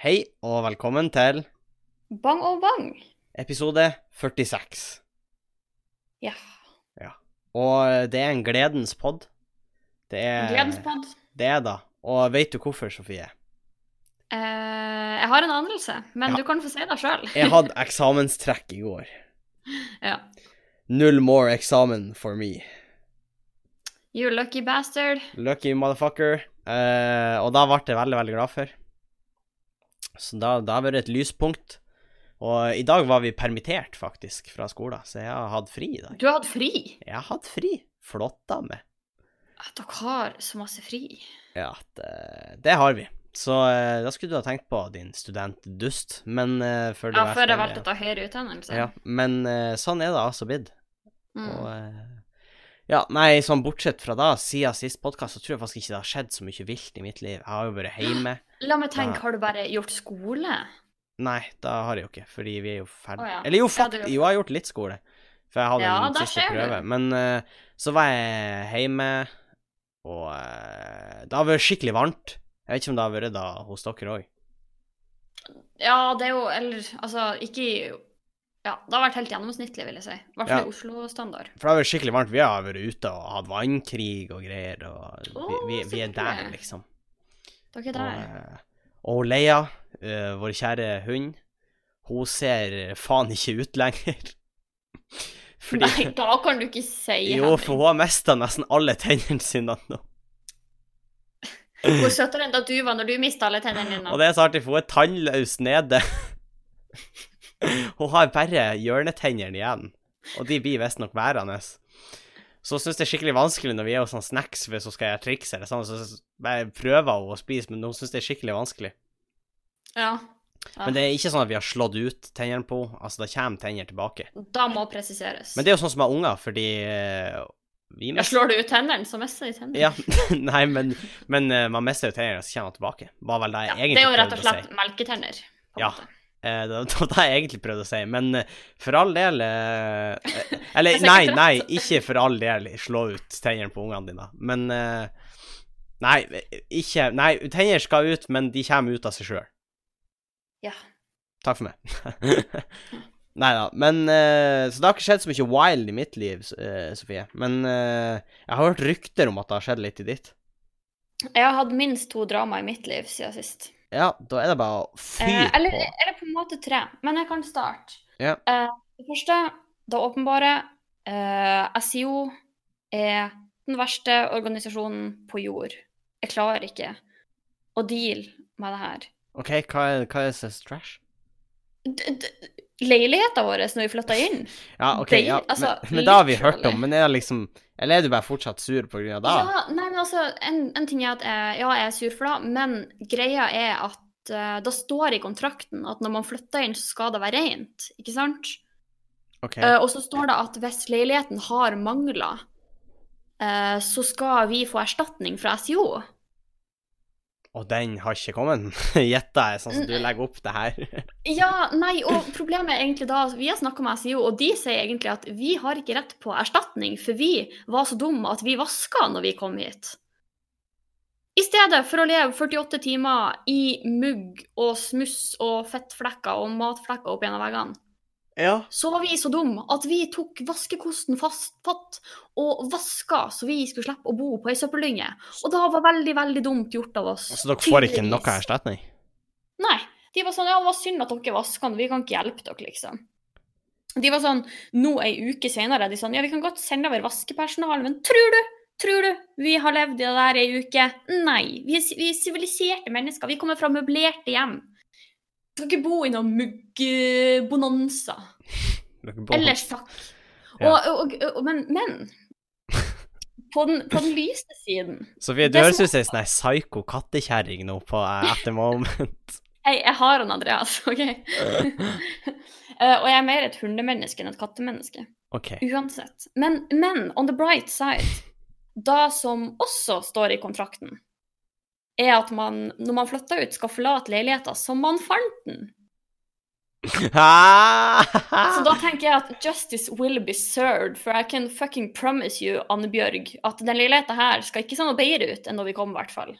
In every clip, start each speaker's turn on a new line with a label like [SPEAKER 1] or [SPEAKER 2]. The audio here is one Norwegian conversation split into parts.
[SPEAKER 1] Hei, og velkommen til
[SPEAKER 2] Bang og bang.
[SPEAKER 1] episode 46.
[SPEAKER 2] Ja.
[SPEAKER 1] Og eh, det er en gledens pod. Det er
[SPEAKER 2] Gledenspodd.
[SPEAKER 1] Det er da. Og vet du hvorfor, Sofie?
[SPEAKER 2] Eh, jeg har en anelse, men
[SPEAKER 1] Ja.
[SPEAKER 2] du kan få se deg sjøl.
[SPEAKER 1] Jeg hadde eksamenstrekk i går.
[SPEAKER 2] Ja.
[SPEAKER 1] Null more eksamen for me.
[SPEAKER 2] You lucky bastard.
[SPEAKER 1] Lucky motherfucker. Eh, og da ble jeg veldig, veldig glad for. Så da, da har det vært et lyspunkt. Og i dag var vi permittert, faktisk, fra skolen, så jeg har hatt fri i dag.
[SPEAKER 2] Du har hatt fri.
[SPEAKER 1] Jeg har hatt fri. Flott, da, med.
[SPEAKER 2] At dere har så masse fri.
[SPEAKER 1] Ja, det, det har vi. Så eh, da skulle du ha tenkt på din studentdust, men eh, før du
[SPEAKER 2] Ja, før jeg
[SPEAKER 1] veldig-
[SPEAKER 2] valgte å ta høyere utdannelse.
[SPEAKER 1] Ja, men eh, sånn er det altså blitt. Og
[SPEAKER 2] Mm.
[SPEAKER 1] eh, Ja, nei, sånn bortsett fra da, siden sist podkast, så tror jeg faktisk ikke det har skjedd så mye vilt i mitt liv. Jeg har jo vært hjemme.
[SPEAKER 2] La meg tenke,
[SPEAKER 1] eh, Ja.
[SPEAKER 2] har du bare gjort skole?
[SPEAKER 1] Nei, det har jeg jo ikke, fordi vi er jo ferdig.
[SPEAKER 2] Å, ja.
[SPEAKER 1] Eller jo,
[SPEAKER 2] Ja, du
[SPEAKER 1] fuck,
[SPEAKER 2] er jo
[SPEAKER 1] jo, jeg har gjort litt skole. For jeg hadde
[SPEAKER 2] Ja,
[SPEAKER 1] en
[SPEAKER 2] der
[SPEAKER 1] siste
[SPEAKER 2] ser du.
[SPEAKER 1] prøve. Men eh, så var jeg hjemme, og eh, det har vært skikkelig varmt. Jeg vet ikke om det har vært da hos dere òg.
[SPEAKER 2] Ja, det er jo Eller altså, ikke i Ja, det har vært helt gjennomsnittlig, vil jeg si. I hvert
[SPEAKER 1] Ja.
[SPEAKER 2] fall i Oslo-standard.
[SPEAKER 1] For det har vært skikkelig varmt. Vi har vært ute og hatt vannkrig og greier, og vi,
[SPEAKER 2] Å,
[SPEAKER 1] vi,
[SPEAKER 2] så
[SPEAKER 1] vi er der,
[SPEAKER 2] hyggelig.
[SPEAKER 1] liksom.
[SPEAKER 2] Dere er
[SPEAKER 1] Og,
[SPEAKER 2] der.
[SPEAKER 1] eh, og Leia, eh, vår kjære hund, hun ser faen ikke ut lenger.
[SPEAKER 2] Nei, da kan du ikke si
[SPEAKER 1] Jo,
[SPEAKER 2] Henrik.
[SPEAKER 1] for hun har mista nesten alle tennene sine nå.
[SPEAKER 2] Hvor søtere enn da du var når du mista alle tennene dine.
[SPEAKER 1] Og det er så artig, for hun er tannløs nede. hun har bare hjørnetennene igjen, og de blir visstnok værende. Så hun syns det er skikkelig vanskelig når vi er hos sånn snacks, for så skal jeg trikse eller sånn, så s- bare prøver hun å spise, men hun syns det er skikkelig vanskelig.
[SPEAKER 2] Ja.
[SPEAKER 1] Men det er ikke sånn at vi har slått ut tennene på henne, altså det kommer tenner tilbake.
[SPEAKER 2] Da må presiseres.
[SPEAKER 1] Men det er jo sånn som har unger, fordi eh, vi
[SPEAKER 2] Ja,
[SPEAKER 1] mest-
[SPEAKER 2] slår du ut tennene, så mister de tennene.
[SPEAKER 1] Ja, nei, men, men eh, man mister jo tennene, så kommer man tilbake. Var vel det jeg
[SPEAKER 2] Ja,
[SPEAKER 1] egentlig
[SPEAKER 2] det er jo rett og
[SPEAKER 1] prøvde å
[SPEAKER 2] slett
[SPEAKER 1] si.
[SPEAKER 2] melketenner. på en
[SPEAKER 1] Ja.
[SPEAKER 2] måte.
[SPEAKER 1] Eh, det var det jeg egentlig prøvde å si, men eh, for all del eh, eh, Eller
[SPEAKER 2] Jeg ser
[SPEAKER 1] nei,
[SPEAKER 2] ikke
[SPEAKER 1] nei,
[SPEAKER 2] rett.
[SPEAKER 1] ikke for all del slå ut tennene på ungene dine, men eh, Nei, ikke Nei, tenner skal ut, men de kommer ut av seg sjøl.
[SPEAKER 2] Ja.
[SPEAKER 1] Takk for meg. Nei da. Men eh, Så det har ikke skjedd så mye wild i mitt liv, S- eh, Sofie. Men eh, jeg har hørt rykter om at det har skjedd litt i ditt.
[SPEAKER 2] Jeg har hatt minst to drama i mitt liv siden sist.
[SPEAKER 1] Ja, da er det bare å
[SPEAKER 2] Eh,
[SPEAKER 1] fyre
[SPEAKER 2] eller,
[SPEAKER 1] på.
[SPEAKER 2] eller på en måte tre, men jeg kan starte.
[SPEAKER 1] Ja.
[SPEAKER 2] Eh, det første, det åpenbare. Eh, SIO er den verste organisasjonen på jord. Jeg klarer ikke å deale med det her.
[SPEAKER 1] OK, hva er, hva er så trash?
[SPEAKER 2] D d leiligheten vår når vi flytta inn
[SPEAKER 1] Ja, OK,
[SPEAKER 2] Det-
[SPEAKER 1] ja, men,
[SPEAKER 2] altså,
[SPEAKER 1] men det har vi hørt
[SPEAKER 2] literally.
[SPEAKER 1] om. Men er det liksom Eller er du bare fortsatt sur på grunn av det?
[SPEAKER 2] Ja, nei, men altså, en, en ting er at jeg, ja, jeg er sur for det, men greia er at eh, da står det i kontrakten at når man flytter inn, så skal det være rent, ikke sant?
[SPEAKER 1] OK.
[SPEAKER 2] Eh, og så står det at hvis leiligheten har mangler, eh, så skal vi få erstatning fra SIO.
[SPEAKER 1] Og den har ikke kommet? Gjetta jeg, sånn som du
[SPEAKER 2] Mm.
[SPEAKER 1] legger opp det her.
[SPEAKER 2] Ja, nei, og problemet er egentlig da, vi har snakket med SIO, og de sier egentlig at vi har ikke rett på erstatning, for vi var så dumme at vi vasket når vi kom hit. I stedet for å leve 48 timer i mugg og smuss og fettflekker og matflekker opp gjennom veggene,
[SPEAKER 1] ja.
[SPEAKER 2] så var vi så dumme at vi tok vaskekosten fast fatt og vasket så vi skulle slippe å bo på ei søppeldynge. Og det var veldig, veldig dumt gjort av oss.
[SPEAKER 1] Så Altså, dere får ikke noe
[SPEAKER 2] Tydeligvis.
[SPEAKER 1] erstatning?
[SPEAKER 2] Nei. De var sånn Ja, det var synd at dere vaska den, vi kan ikke hjelpe dere, liksom. De var sånn Nå ei uke senere, de sånn Ja, vi kan godt sende over vaskepersonale, men tror du? Tror du vi har levd i det der ei uke? Nei. Vi er, si- vi er siviliserte mennesker. Vi kommer fra møblerte hjem. Vi skal ikke bo i noen muggbonanza.
[SPEAKER 1] Dere bor-
[SPEAKER 2] Ellers takk.
[SPEAKER 1] Ja.
[SPEAKER 2] Og, og, og, men, men på, den, på den lyse siden
[SPEAKER 1] Sofie, du
[SPEAKER 2] Det
[SPEAKER 1] høres
[SPEAKER 2] som-
[SPEAKER 1] ut som ei sånn her psyko kattekjerring nå på eh, At the Moment.
[SPEAKER 2] Hei, jeg har han, Andreas, OK? Eh, og jeg er mer et hundemenneske enn et kattemenneske.
[SPEAKER 1] OK.
[SPEAKER 2] Uansett. Men, men on the bright side, det som også står i kontrakten, er at man, når man flytter ut, skal forlate leiligheten som man fant den. Så da tenker jeg at justice will be served, for I can fucking promise you, Anne Bjørg, at den leiligheten her skal ikke se noe bedre ut enn når vi kom, i hvert fall.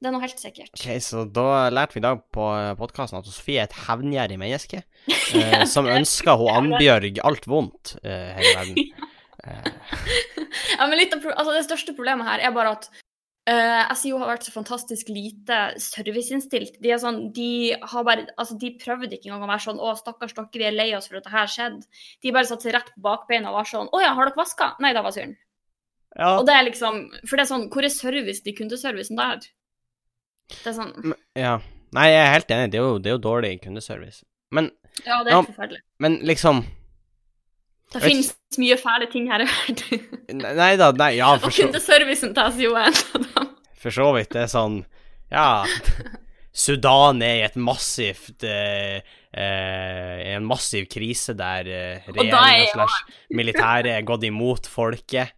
[SPEAKER 2] Det er noe helt sikkert.
[SPEAKER 1] Ok, så da lærte vi i dag på podkasten at Sofie er et hevngjerrig menneske eh, som ønsker hun Annbjørg alt vondt eh, hele verden.
[SPEAKER 2] Ja, men litt av pro altså, det største problemet her er bare at eh, SIO har vært så fantastisk lite serviceinnstilt. De, er sånn, de, har bare, altså, de prøvde ikke engang å være sånn 'Å, stakkars dere, vi er lei oss for at det her skjedde'. De bare satte seg rett på bakbeina og var sånn 'Å ja, har dere vaska?' Nei, da var syren.
[SPEAKER 1] Ja,
[SPEAKER 2] Og det er liksom For det er sånn Hvor er service til kundeservicen der? Det er sånn
[SPEAKER 1] ja. Nei, jeg er helt enig, det er jo, det er jo dårlig kundeservice. Men,
[SPEAKER 2] Ja, det er
[SPEAKER 1] Ja.
[SPEAKER 2] forferdelig.
[SPEAKER 1] men liksom
[SPEAKER 2] Det
[SPEAKER 1] Vet-
[SPEAKER 2] finnes mye fæle ting her i verden.
[SPEAKER 1] Nei da, nei, ja,
[SPEAKER 2] Og
[SPEAKER 1] for så,
[SPEAKER 2] kundeservicen til SIO er en av dem.
[SPEAKER 1] for så vidt. Det er sånn Ja. Sudan er i et massivt eh, eh, En massiv krise der eh,
[SPEAKER 2] da er
[SPEAKER 1] regjeringa
[SPEAKER 2] jeg-
[SPEAKER 1] slash militæret er gått imot folket,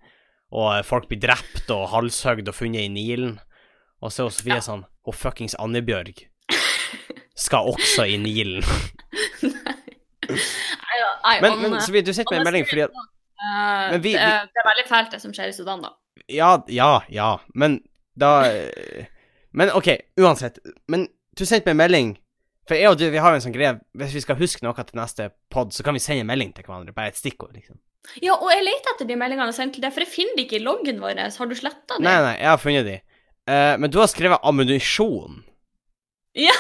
[SPEAKER 1] og eh, folk blir drept og halshøgd og funnet i Nilen. Og så er jo Sofie sånn Hun fuckings Annebjørg skal også i Nilen.
[SPEAKER 2] Nei da. Nei,
[SPEAKER 1] Men,
[SPEAKER 2] og-
[SPEAKER 1] men Sofie, du sitter med en melding fordi at
[SPEAKER 2] Eh,
[SPEAKER 1] Men vi-
[SPEAKER 2] det, er, det er veldig fælt, det som skjer i Sudan, da.
[SPEAKER 1] Ja, ja, ja, men da eh, Men OK, uansett. Men du sendte meg en melding, for jeg og du vi har jo en sånn greie Hvis vi skal huske noe til neste pod, så kan vi sende en melding til hverandre. Bare et stikkord, liksom.
[SPEAKER 2] Ja, og jeg leter etter de meldingene jeg sendte til deg, for jeg finner det ikke i loggen vår. Har du sletta det?
[SPEAKER 1] Nei, nei, jeg har funnet de. Eh, men du har skrevet ammunisjon.
[SPEAKER 2] Ja.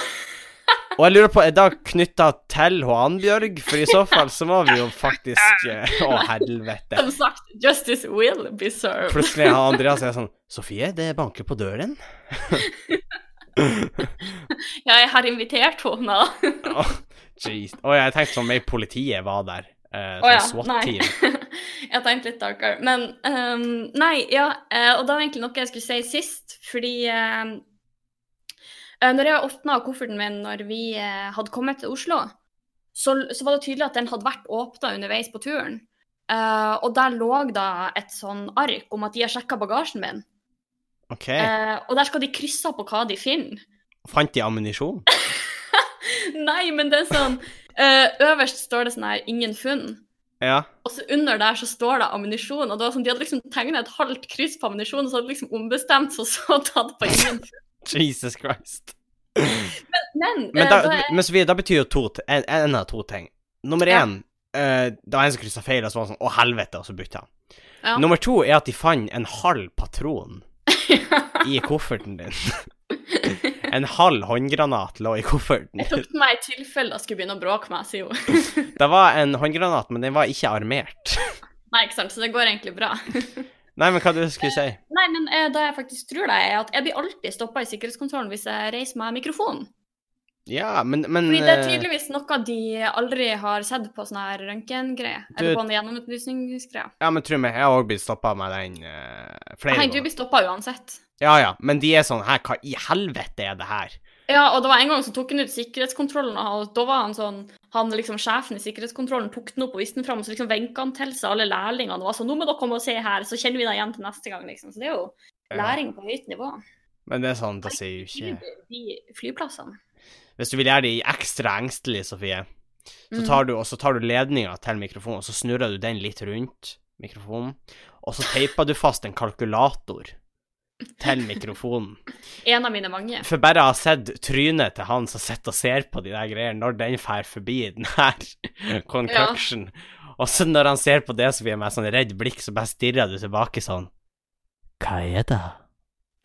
[SPEAKER 1] Og jeg lurer på, er det knytta til hun Annbjørg? For i så fall så må vi jo faktisk eh, Å, helvete.
[SPEAKER 2] Som sagt, justice will be served.
[SPEAKER 1] Plutselig har Andreas er sånn Sofie, det banker på døren.
[SPEAKER 2] Ja, jeg har invitert henne.
[SPEAKER 1] Åh, Jeez. Å, jeg tenkte sånn mer politiet var der. Eh,
[SPEAKER 2] Å
[SPEAKER 1] sånn
[SPEAKER 2] ja, nei.
[SPEAKER 1] SWAT-team.
[SPEAKER 2] jeg tenkte litt darkere. Men ehm, nei, ja. eh, og det var egentlig noe jeg skulle si sist, fordi ehm, eh, Når jeg åpna kofferten min når vi eh, hadde kommet til Oslo, så, så var det tydelig at den hadde vært åpna underveis på turen. Eh, og der lå da et sånn ark om at de har sjekka bagasjen min.
[SPEAKER 1] OK.
[SPEAKER 2] Eh, og der skal de krysse på hva de finner.
[SPEAKER 1] Fant de ammunisjon?
[SPEAKER 2] Nei, men det er sånn eh, Øverst står det sånn her 'ingen funn'.
[SPEAKER 1] Ja.
[SPEAKER 2] Og så under der så står det ammunisjon. Og det var sånn, de hadde liksom tegna et halvt kryss på ammunisjon, og så hadde de liksom ombestemt seg og så tatt på ingen.
[SPEAKER 1] Jesus Christ.
[SPEAKER 2] Men,
[SPEAKER 1] Men,
[SPEAKER 2] eh,
[SPEAKER 1] da,
[SPEAKER 2] da er,
[SPEAKER 1] men Sofie, da betyr jo to t- en, en av to ting. Nummer
[SPEAKER 2] Ja.
[SPEAKER 1] én eh, Det var en som kryssa feil, og så var han sånn Å, helvete, og så bytta han.
[SPEAKER 2] Ja.
[SPEAKER 1] Nummer to er at de fant en halv patron i kofferten din. en halv håndgranat lå i kofferten
[SPEAKER 2] jeg
[SPEAKER 1] din.
[SPEAKER 2] tok den meg i tilfelle jeg skulle begynne å bråke meg, sier hun.
[SPEAKER 1] Det var en håndgranat, men den var ikke armert.
[SPEAKER 2] Nei, ikke sant, så det går egentlig bra.
[SPEAKER 1] Nei, men hva du skulle si?
[SPEAKER 2] Nei, men eh, det jeg faktisk tror det er at jeg blir alltid stoppa i sikkerhetskontrollen hvis jeg reiser meg mikrofonen.
[SPEAKER 1] Ja, men, men
[SPEAKER 2] Fordi det er
[SPEAKER 1] eh,
[SPEAKER 2] tydeligvis noe de aldri har sett på sånne her røntgengreier.
[SPEAKER 1] Du-
[SPEAKER 2] Eller på en gjennomutlysningsgreie.
[SPEAKER 1] eh, Ja, men tro meg, jeg har òg blitt stoppa med den eh, flere
[SPEAKER 2] Nei, du
[SPEAKER 1] ganger.
[SPEAKER 2] blir stoppa uansett.
[SPEAKER 1] Ja, ja, men de er sånn her, hva i helvete er det her?
[SPEAKER 2] Ja, og det var en gang så tok han ut sikkerhetskontrollen, og da var han sånn han liksom Sjefen i sikkerhetskontrollen tok den opp og viste den fram, og så liksom venka han til seg alle lærlingene og var sånn 'Nå må dere komme og se her, så kjenner vi deg igjen til neste gang', liksom. Så det er jo
[SPEAKER 1] Ja.
[SPEAKER 2] læring på høyt nivå.
[SPEAKER 1] Men det er sånn, det sier jo ikke
[SPEAKER 2] De, de flyplassene.
[SPEAKER 1] Hvis du vil gjøre de ekstra engstelige, Sofie, så tar du, og så tar du ledninga til mikrofonen, og så snurrer du den litt rundt mikrofonen, og så teiper du fast en kalkulator til mikrofonen.
[SPEAKER 2] En av mine mange.
[SPEAKER 1] For bare jeg har sett trynet til han som sitter og ser på de der greiene, når den fer forbi den her concoction, og så når han ser på det som blir jeg med sånn redd blikk, så bare stirrer du tilbake sånn Hva er det?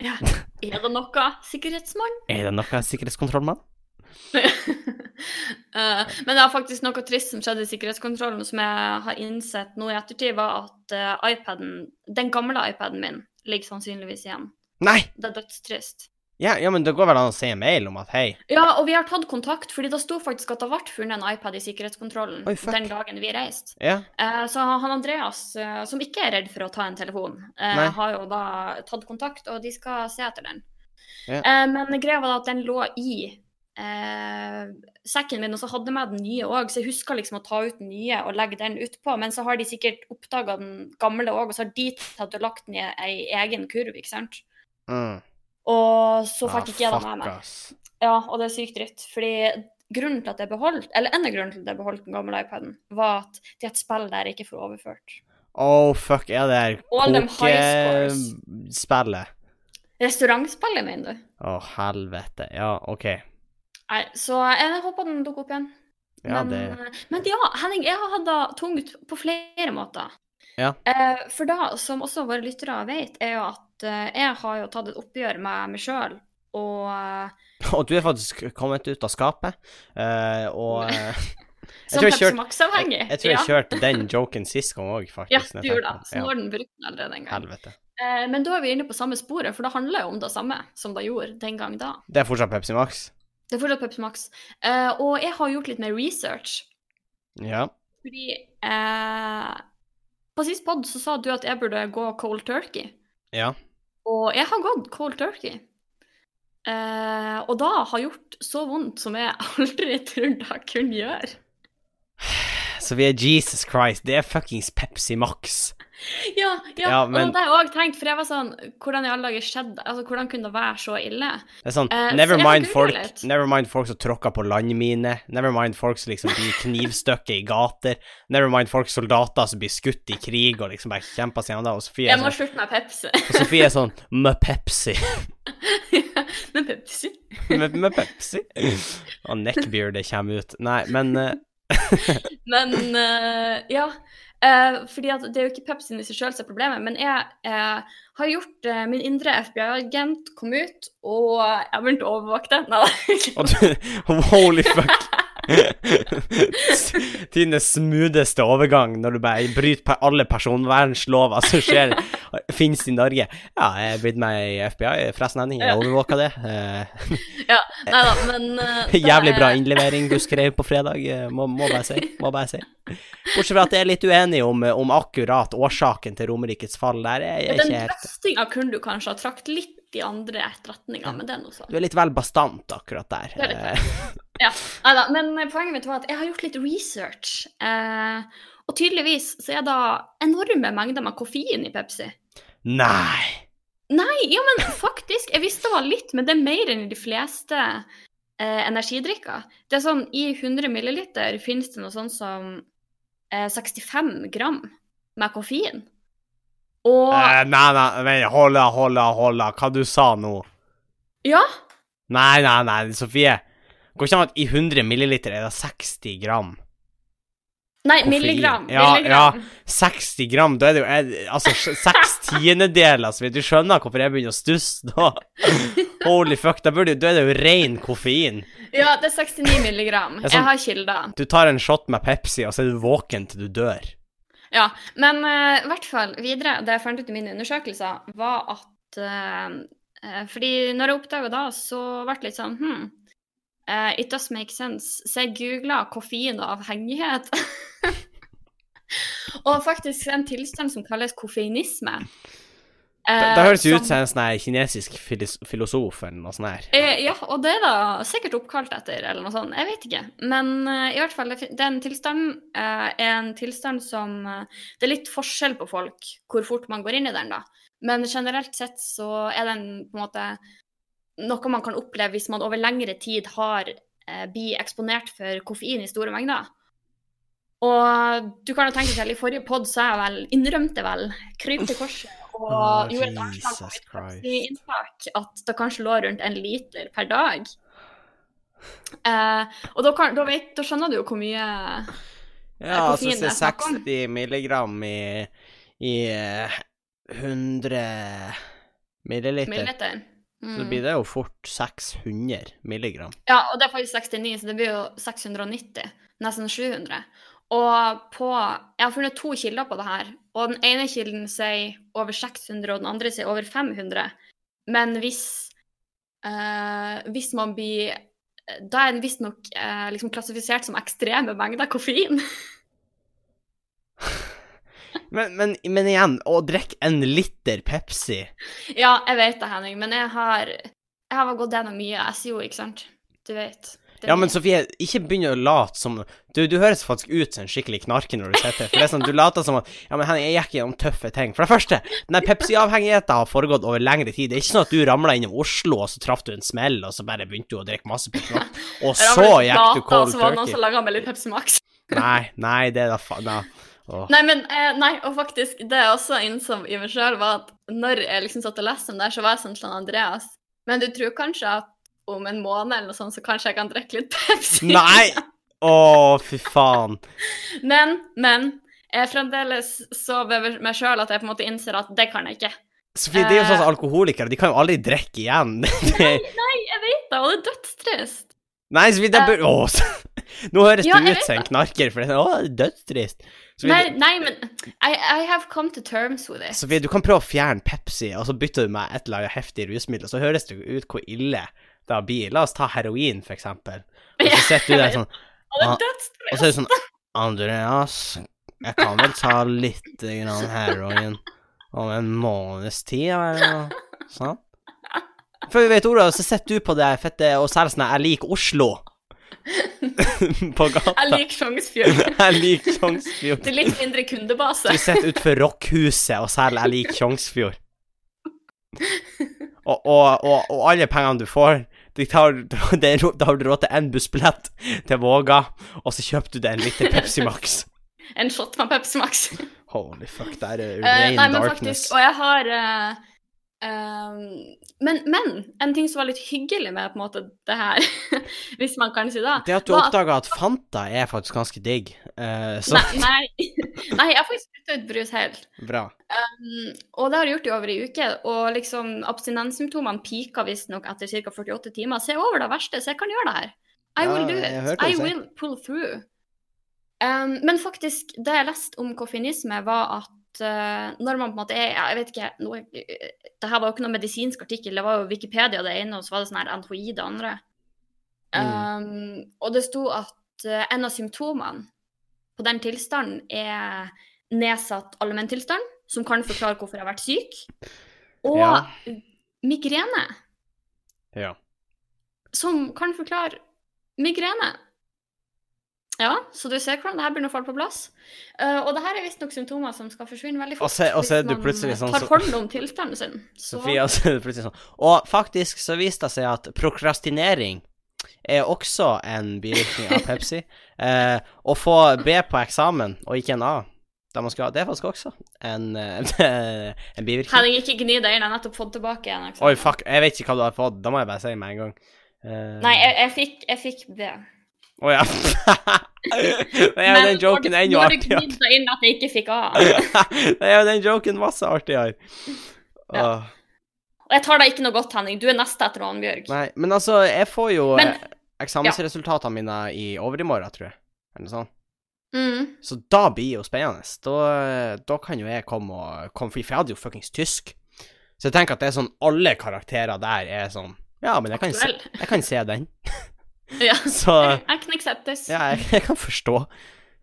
[SPEAKER 2] Ja. Er det noe, sikkerhetsmann?
[SPEAKER 1] Er det noe sikkerhetskontrollmann?
[SPEAKER 2] Eh, men det er faktisk noe trist som skjedde i sikkerhetskontrollen, som jeg har innsett nå i ettertid, var at eh, iPaden, den gamle iPaden min, ligger sannsynligvis igjen.
[SPEAKER 1] Nei!
[SPEAKER 2] Det er dødstrist.
[SPEAKER 1] Ja, ja, men det går vel an å si en mail om at hei
[SPEAKER 2] Ja, og vi har tatt kontakt, fordi det sto faktisk at det ble funnet en iPad i sikkerhetskontrollen
[SPEAKER 1] Oi, fuck.
[SPEAKER 2] den dagen vi reiste.
[SPEAKER 1] Ja,
[SPEAKER 2] Eh, så han Andreas, eh, som ikke er redd for å ta en telefon, eh,
[SPEAKER 1] Nei.
[SPEAKER 2] har jo da tatt kontakt, og de skal se etter den.
[SPEAKER 1] Ja.
[SPEAKER 2] Eh, men greia var da at den lå i eh, sekken min, og så hadde jeg med den nye òg, så jeg huska liksom å ta ut den nye og legge den utpå, men så har de sikkert oppdaga den gamle òg, og så har de tatt og lagt den i ei egen kurv, ikke sant.
[SPEAKER 1] mm.
[SPEAKER 2] Og så
[SPEAKER 1] Ah,
[SPEAKER 2] fikk ikke jeg den
[SPEAKER 1] fuck,
[SPEAKER 2] med meg.
[SPEAKER 1] ass.
[SPEAKER 2] Ja, og det er sykt dritt. Fordi grunnen til at jeg beholdt, eller en av grunnen til at jeg beholdt den gamle iPaden, var at de har et spill der jeg ikke får overført.
[SPEAKER 1] Oh, fuck, er det her
[SPEAKER 2] All them high scores.
[SPEAKER 1] kokespillet?
[SPEAKER 2] Restaurantspillet, mener du?
[SPEAKER 1] Å, helvete. Ja, OK.
[SPEAKER 2] Nei, så jeg håper den dukker opp igjen.
[SPEAKER 1] Ja,
[SPEAKER 2] men, eh,
[SPEAKER 1] det
[SPEAKER 2] men ja, Henning, jeg har hatt det tungt på flere måter.
[SPEAKER 1] Ja.
[SPEAKER 2] Eh, for da, som også våre lyttere vet, er jo at eh, jeg har jo tatt et oppgjør med meg sjøl. Og eh,
[SPEAKER 1] Og du er faktisk kommet ut av skapet, eh, og eh,
[SPEAKER 2] som
[SPEAKER 1] tror jeg kjørte-
[SPEAKER 2] Pepsi
[SPEAKER 1] jeg,
[SPEAKER 2] Max-avhengig.
[SPEAKER 1] jeg tror jeg kjørte den joken sist gang òg, faktisk.
[SPEAKER 2] Ja,
[SPEAKER 1] når
[SPEAKER 2] du
[SPEAKER 1] jeg
[SPEAKER 2] gjorde
[SPEAKER 1] tenker på
[SPEAKER 2] det. Sånn Så nå har den brukt den allerede en
[SPEAKER 1] Ja,
[SPEAKER 2] gang.
[SPEAKER 1] helvete.
[SPEAKER 2] Eh, men da er vi inne på samme sporet, for det handler jo om det samme som det gjorde den gang da.
[SPEAKER 1] Det er fortsatt Pepsi Max?
[SPEAKER 2] Det er fortsatt Pepsi Max. Eh, og jeg har gjort litt mer research.
[SPEAKER 1] Ja.
[SPEAKER 2] Fordi eh, På sist pod så sa du at jeg burde gå cold turkey.
[SPEAKER 1] Ja.
[SPEAKER 2] Og jeg har gått cold turkey. Eh, og da har gjort så vondt som jeg aldri trodde jeg kunne gjøre.
[SPEAKER 1] Så vi er Jesus Christ. Det er fuckings Pepsi Max.
[SPEAKER 2] Ja, ja,
[SPEAKER 1] Ja,
[SPEAKER 2] men...
[SPEAKER 1] men-
[SPEAKER 2] og det har jeg òg tenkt, for jeg var sånn Hvordan i alle dager skjedde Altså, hvordan kunne det være så ille?
[SPEAKER 1] Det er sånn
[SPEAKER 2] Eh,
[SPEAKER 1] never,
[SPEAKER 2] så jeg
[SPEAKER 1] mind
[SPEAKER 2] googlet
[SPEAKER 1] folk,
[SPEAKER 2] litt.
[SPEAKER 1] never mind folk som tråkker på landminer. Never mind folk som liksom blir knivstukket i gater. Never mind folk soldater som blir skutt i krig og liksom bare kjemper seg gjennom det. Og Sofie
[SPEAKER 2] Jeg
[SPEAKER 1] er
[SPEAKER 2] må
[SPEAKER 1] sånn,
[SPEAKER 2] slutte med Pepsi.
[SPEAKER 1] og Sofie er sånn med Pepsi.
[SPEAKER 2] men Pepsi
[SPEAKER 1] med, med Pepsi. Og neckbeardet kommer ut. Nei, men eh,
[SPEAKER 2] Men eh, ja. eh, fordi at det er jo ikke Pepsien i seg sjøl som er problemet, men jeg eh, har gjort eh, min indre FBI-agent kom ut, og jeg begynte å overvåke det. Nei da.
[SPEAKER 1] Og du Holy fuck. Tidenes smootheste overgang når du bare bryter på alle personvernlover som skjer finnes i Norge. Ja, jeg er blitt med i FBI. Forresten, Henning, jeg overvåka det. Eh,
[SPEAKER 2] Ja, nei da, men eh, det
[SPEAKER 1] jævlig bra
[SPEAKER 2] er-
[SPEAKER 1] innlevering du skrev på fredag, eh, må, må bare si. Må bare si. Bortsett fra at jeg er litt uenig om, eh, om akkurat årsaken til Romerikes fall der. Jeg er
[SPEAKER 2] Den
[SPEAKER 1] ikke helt
[SPEAKER 2] drøftinga kunne du kanskje ha trakt litt i andre retninger, men det er nå så.
[SPEAKER 1] Du er litt vel bastant akkurat der.
[SPEAKER 2] Det er litt
[SPEAKER 1] Eh,
[SPEAKER 2] Ja, nei da, men eh, poenget mitt var at jeg har gjort litt research. eh, og tydeligvis så er det enorme mengder med koffein i Pepsi.
[SPEAKER 1] Nei.
[SPEAKER 2] Nei, ja, men faktisk. Jeg visste det var litt, men det er mer enn i de fleste eh, energidrikker. Det er sånn, I 100 milliliter finnes det noe sånn som eh, 65 gram med koffein. Og
[SPEAKER 1] Eh, nei, nei, nei, hold da, hold da, hold da. Hva du sa nå?
[SPEAKER 2] ja,
[SPEAKER 1] Nei, nei, nei, Sofie. Går ikke an at i 100 milliliter er det 60 gram.
[SPEAKER 2] nei,
[SPEAKER 1] Koffein.
[SPEAKER 2] milligram.
[SPEAKER 1] Ja,
[SPEAKER 2] milligram.
[SPEAKER 1] 60 gram, da er det jo er- Altså, sj- seks tiendedeler, så vet du skjønner hvorfor jeg begynner å stusse da. Holy fuck, da, burde, jo- da er det jo ren koffein.
[SPEAKER 2] Ja. det er 69 milligram.
[SPEAKER 1] Det er sånn-
[SPEAKER 2] Jeg har kilder.
[SPEAKER 1] Du tar en shot med Pepsi, og så er du våken til du dør.
[SPEAKER 2] Ja, men eh, i hvert fall videre, det jeg fant ut i mine undersøkelser, var at eh, eh, Fordi når jeg oppdaga da, så ble det litt sånn Hm, eh, it does make sense. Så jeg googla koffein og avhengighet. og faktisk en tilstand som kalles koffeinisme.
[SPEAKER 1] Da,
[SPEAKER 2] Eh,
[SPEAKER 1] da høres det ut
[SPEAKER 2] som-
[SPEAKER 1] som en sånn her kinesisk filis- filosof eller noe sånt her.
[SPEAKER 2] Eh, ja, og det er da sikkert oppkalt etter, eller noe sånt. Jeg vet ikke. Men eh, i hvert fall, det fin- den tilstanden eh, er en tilstand som eh, Det er litt forskjell på folk hvor fort man går inn i den, da. Men generelt sett så er den på en måte noe man kan oppleve hvis man over lengre tid har eh, blir eksponert for koffein i store mengder. Og du kan jo tenke deg, i forrige pod sa jeg vel, innrømte vel, kryp til korset og
[SPEAKER 1] Åh,
[SPEAKER 2] gjorde et anslag på
[SPEAKER 1] Jesus
[SPEAKER 2] mitt
[SPEAKER 1] Christ.
[SPEAKER 2] inntak at det kanskje lå rundt en liter per dag. Eh, og da, kan, da, vet, da skjønner du jo hvor mye
[SPEAKER 1] Ja, altså
[SPEAKER 2] koffein
[SPEAKER 1] så
[SPEAKER 2] jeg snakker om.
[SPEAKER 1] 60 milligram i, i eh, 100 milliliter.
[SPEAKER 2] milliliter.
[SPEAKER 1] Så
[SPEAKER 2] Mm.
[SPEAKER 1] blir det jo fort 600 milligram.
[SPEAKER 2] Ja, og det er faktisk 69, så det blir jo 690. Nesten 700. Og på Jeg har funnet to kilder på det her, og den ene kilden sier over 600, og den andre sier over 500. Men hvis eh, Hvis man blir Da er den visstnok uh, liksom klassifisert som ekstreme mengder koffein.
[SPEAKER 1] Men, men, men igjen, å drikke en liter Pepsi
[SPEAKER 2] ja, jeg vet det, Henning, men jeg har Jeg har gått gjennom mye SIO, ikke sant? Du vet. Det er
[SPEAKER 1] Ja, men
[SPEAKER 2] mye.
[SPEAKER 1] Sofie, ikke begynn å late som Du, du høres faktisk ut som en skikkelig knarker når du sitter her. For det er sånn, du later som at Ja, men Henning, jeg gikk gjennom tøffe ting. For det første, den Pepsi-avhengigheten har foregått over lengre tid. Det er ikke sånn at du ramla innom Oslo, og så traff du en smell, og så bare begynte du å drikke masse Pepsi Max. Og
[SPEAKER 2] Jeg har
[SPEAKER 1] så
[SPEAKER 2] vel
[SPEAKER 1] gikk du
[SPEAKER 2] gata, og
[SPEAKER 1] cold
[SPEAKER 2] så var det noen
[SPEAKER 1] turkey.
[SPEAKER 2] som laget meg litt Pepsi Max.
[SPEAKER 1] Nei, nei, det er da faen da. Åh.
[SPEAKER 2] Nei, men eh, nei, og faktisk, det jeg også innså i meg sjøl, var at når jeg liksom satt og leste om det, her, så var jeg sånn som Andreas. Men du tror kanskje at om en måned eller noe sånt, så kanskje jeg kan drikke litt Pepsi?
[SPEAKER 1] Nei! Å, fy faen.
[SPEAKER 2] Men, men jeg fremdeles så ved meg sjøl at jeg på en måte innser at det kan jeg ikke.
[SPEAKER 1] Sofie, det er jo sånn
[SPEAKER 2] Eh.
[SPEAKER 1] som alkoholikere, de kan jo aldri drikke igjen. Det-
[SPEAKER 2] Jeg vet det, og det er dødstrist.
[SPEAKER 1] Nei, Sofie, det bør Å, så... Nå høres
[SPEAKER 2] Ja,
[SPEAKER 1] du ut
[SPEAKER 2] jeg vet
[SPEAKER 1] som en knarker, for det er sånn, å, det er dødstrist. Sofie,
[SPEAKER 2] Nei, nei, men I, I have come to terms with it.
[SPEAKER 1] Sofie, du kan prøve å fjerne Pepsi, og så bytter du med et eller annet heftig rusmiddel, så høres det jo ut hvor ille det blir. La oss ta heroin, for eksempel. Og så sitter du der sånn,
[SPEAKER 2] Og det
[SPEAKER 1] Ah.
[SPEAKER 2] er dødstrist.
[SPEAKER 1] og så er du sånn Andreas, jeg kan vel ta litt grann heroin om en måneds tid, eller noe sånt? Før vi vet ordet, så sitter du på det fette og selger sånn 'Jeg liker Oslo' på gata.
[SPEAKER 2] Jeg liker Sjongsfjord.
[SPEAKER 1] Jeg liker Tjongsfjord.
[SPEAKER 2] Det er litt mindre kundebase.
[SPEAKER 1] Du sitter utenfor rockhuset og selger 'Jeg liker Tjongsfjord'. Og, og, og, og alle pengene du får de tar, det er ro- Da har du råd til én bussbillett til Våga, og så kjøper du deg en liter Pepsi Max.
[SPEAKER 2] En shot med Pepsi Max.
[SPEAKER 1] Holy fuck, der er
[SPEAKER 2] Eh,
[SPEAKER 1] Rain
[SPEAKER 2] nei, men
[SPEAKER 1] Darkness.
[SPEAKER 2] faktisk, og jeg har eh, ehm, men, men en ting som var litt hyggelig med på en måte det her, hvis man kan si det
[SPEAKER 1] Det at du
[SPEAKER 2] Hva-
[SPEAKER 1] oppdaga at Fanta er faktisk ganske digg, eh, så
[SPEAKER 2] Nei, nei, nei jeg har faktisk slutta ut brus helt.
[SPEAKER 1] bra.
[SPEAKER 2] Mm, og det har jeg gjort i over ei uke. Og liksom abstinenssymptomene peaker visstnok etter ca. 48 timer. Så jeg er over det verste, så jeg kan gjøre det her. I
[SPEAKER 1] Ja,
[SPEAKER 2] will do
[SPEAKER 1] jeg hørte
[SPEAKER 2] it.
[SPEAKER 1] det
[SPEAKER 2] I
[SPEAKER 1] du sa.
[SPEAKER 2] will pull through. Um, men faktisk, det jeg leste om koffinisme, var at eh, når man på en måte er Jeg vet ikke noe, Det her var jo ikke noen medisinsk artikkel, det var jo Wikipedia det ene, og så var det sånn her NHI det andre.
[SPEAKER 1] Mm.
[SPEAKER 2] Um, Og det sto at eh, en av symptomene på den tilstanden er nedsatt allmenntilstand, som kan forklare hvorfor jeg har vært syk, og
[SPEAKER 1] Ja.
[SPEAKER 2] migrene,
[SPEAKER 1] Ja.
[SPEAKER 2] som kan forklare migrene. Ja, så du ser hvordan det her begynner å falle på plass. Eh, og det her er visstnok symptomer som skal forsvinne veldig
[SPEAKER 1] Og
[SPEAKER 2] fort.
[SPEAKER 1] så- og så er du
[SPEAKER 2] man
[SPEAKER 1] plutselig sånn
[SPEAKER 2] tar
[SPEAKER 1] som-
[SPEAKER 2] hånd om tilstanden sin. Så,
[SPEAKER 1] Sofie, altså, det er plutselig sånn. Og faktisk så viste det seg at prokrastinering er også en bivirkning av Pepsi. Eh, å få B på eksamen, og ikke en A, da man skulle ha, det er faktisk også en, eh, en bivirkning.
[SPEAKER 2] Henning, ikke gni deg inn, jeg har nettopp fått tilbake igjen.
[SPEAKER 1] Oi, fuck, jeg vet ikke hva du har fått, da må jeg bare si med en gang. Eh,
[SPEAKER 2] Nei, jeg, jeg, fikk, jeg fikk det.
[SPEAKER 1] Å ja. Det er jo den joken er enda
[SPEAKER 2] når du
[SPEAKER 1] artigere.
[SPEAKER 2] gnidde deg inn at jeg ikke fikk A.
[SPEAKER 1] Det er jo den joken masse artigere.
[SPEAKER 2] Ja.
[SPEAKER 1] Åh,
[SPEAKER 2] Og jeg tar deg ikke noe godt, Henning. Du er neste etter Annbjørg.
[SPEAKER 1] Nei, men altså, jeg får jo
[SPEAKER 2] Men-
[SPEAKER 1] eh, eksamensresultatene mine i overmorgen, tror jeg. Eller noe sånt.
[SPEAKER 2] Mm.
[SPEAKER 1] Så da blir jo spennende. Da, eh, da kan jo jeg komme og komme fri, for jeg hadde jo fuckings tysk. Så jeg tenker at det er sånn alle karakterer der er sånn Ja, men jeg kan, se,
[SPEAKER 2] Vel.
[SPEAKER 1] jeg kan se den.
[SPEAKER 2] Ja.
[SPEAKER 1] Så
[SPEAKER 2] Jeg kan akseptes.
[SPEAKER 1] ja, jeg, jeg kan forstå.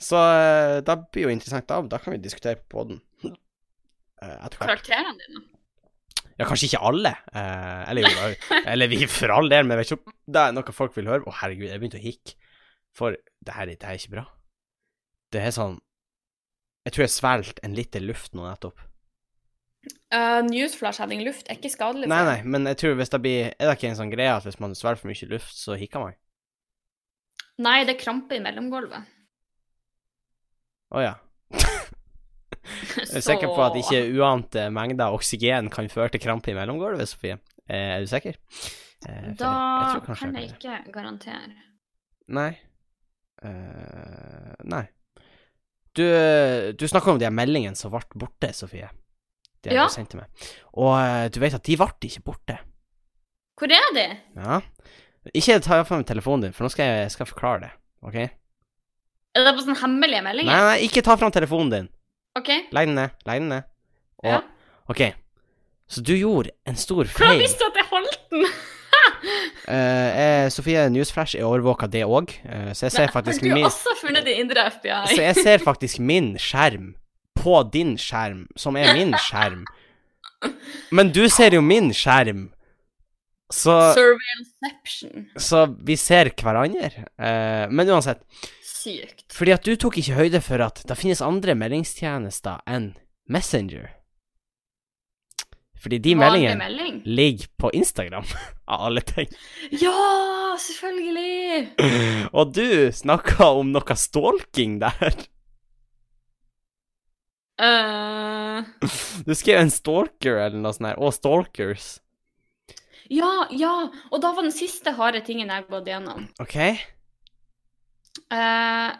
[SPEAKER 1] Så eh, da blir jo interessant. Da, da kan vi diskutere på poden. Etter hvert.
[SPEAKER 2] Karakterene dine.
[SPEAKER 1] Ja, kanskje ikke alle. eh, eller, jo, eller vi, for all del, men jeg vet ikke om det er noe folk vil høre. Å, herregud, jeg begynte å hikke. For det her, det her er ikke bra. Det er sånn Jeg tror jeg svelget en liter luft nå nettopp.
[SPEAKER 3] Eh,
[SPEAKER 2] Newsflash Henning Luft er ikke skadelig.
[SPEAKER 1] Nei, nei, men jeg tror hvis det blir Er det ikke en sånn greie at hvis man svelger for mye luft, så hikker man?
[SPEAKER 2] Nei, det er krampe i mellomgulvet.
[SPEAKER 1] Å ja. Jeg er sikker på at ikke uante mengder oksygen kan føre til krampe i mellomgulvet, Sofie. Eh, er du sikker? Eh, for
[SPEAKER 2] Da
[SPEAKER 1] tror kanskje
[SPEAKER 2] kan
[SPEAKER 1] jeg
[SPEAKER 2] jeg ikke garantere.
[SPEAKER 1] Nei. Eh, nei. Du, du snakker om de her meldingene som ble borte, Sofie. De
[SPEAKER 2] Ja.
[SPEAKER 1] ja. sendte meg. Og eh, du vet at de ble ikke borte.
[SPEAKER 2] Hvor er de?
[SPEAKER 1] Ja. Ikke ta fram telefonen din, for nå skal jeg, skal jeg forklare det. OK?
[SPEAKER 2] Er det på sånne hemmelige
[SPEAKER 1] Nei,
[SPEAKER 2] meldinger?
[SPEAKER 1] nei, ikke ta fram telefonen din.
[SPEAKER 2] OK.
[SPEAKER 1] Legg den ned. Legg den ned. Og,
[SPEAKER 2] Ja.
[SPEAKER 1] OK. Så du gjorde en stor
[SPEAKER 2] Hvordan
[SPEAKER 1] feil.
[SPEAKER 2] visste du at jeg holdt den?
[SPEAKER 1] Eh, eh, Sofie Newsflash er overvåka, det òg, eh, så jeg ser faktisk
[SPEAKER 2] Har
[SPEAKER 1] min
[SPEAKER 2] du også funnet din indre FBI?
[SPEAKER 1] Så jeg ser faktisk min skjerm på din skjerm, som er min skjerm. Men du ser jo min skjerm. Så,
[SPEAKER 2] Surveillanceception.
[SPEAKER 1] så vi ser hverandre. Eh, men uansett.
[SPEAKER 2] Sykt.
[SPEAKER 1] Fordi at du tok ikke høyde for at det finnes andre meldingstjenester enn Messenger. Fordi de
[SPEAKER 2] Vanlig
[SPEAKER 1] meldingene
[SPEAKER 2] melding?
[SPEAKER 1] ligger på Instagram, av alle ting.
[SPEAKER 2] Ja, selvfølgelig!
[SPEAKER 1] Og du snakka om noe stalking der.
[SPEAKER 3] Eh,
[SPEAKER 1] Du skrev en stalker eller noe sånt her. Og stalkers.
[SPEAKER 2] Ja, ja. Og da var den siste harde tingen jeg har gått gjennom.
[SPEAKER 1] OK?
[SPEAKER 2] Eh,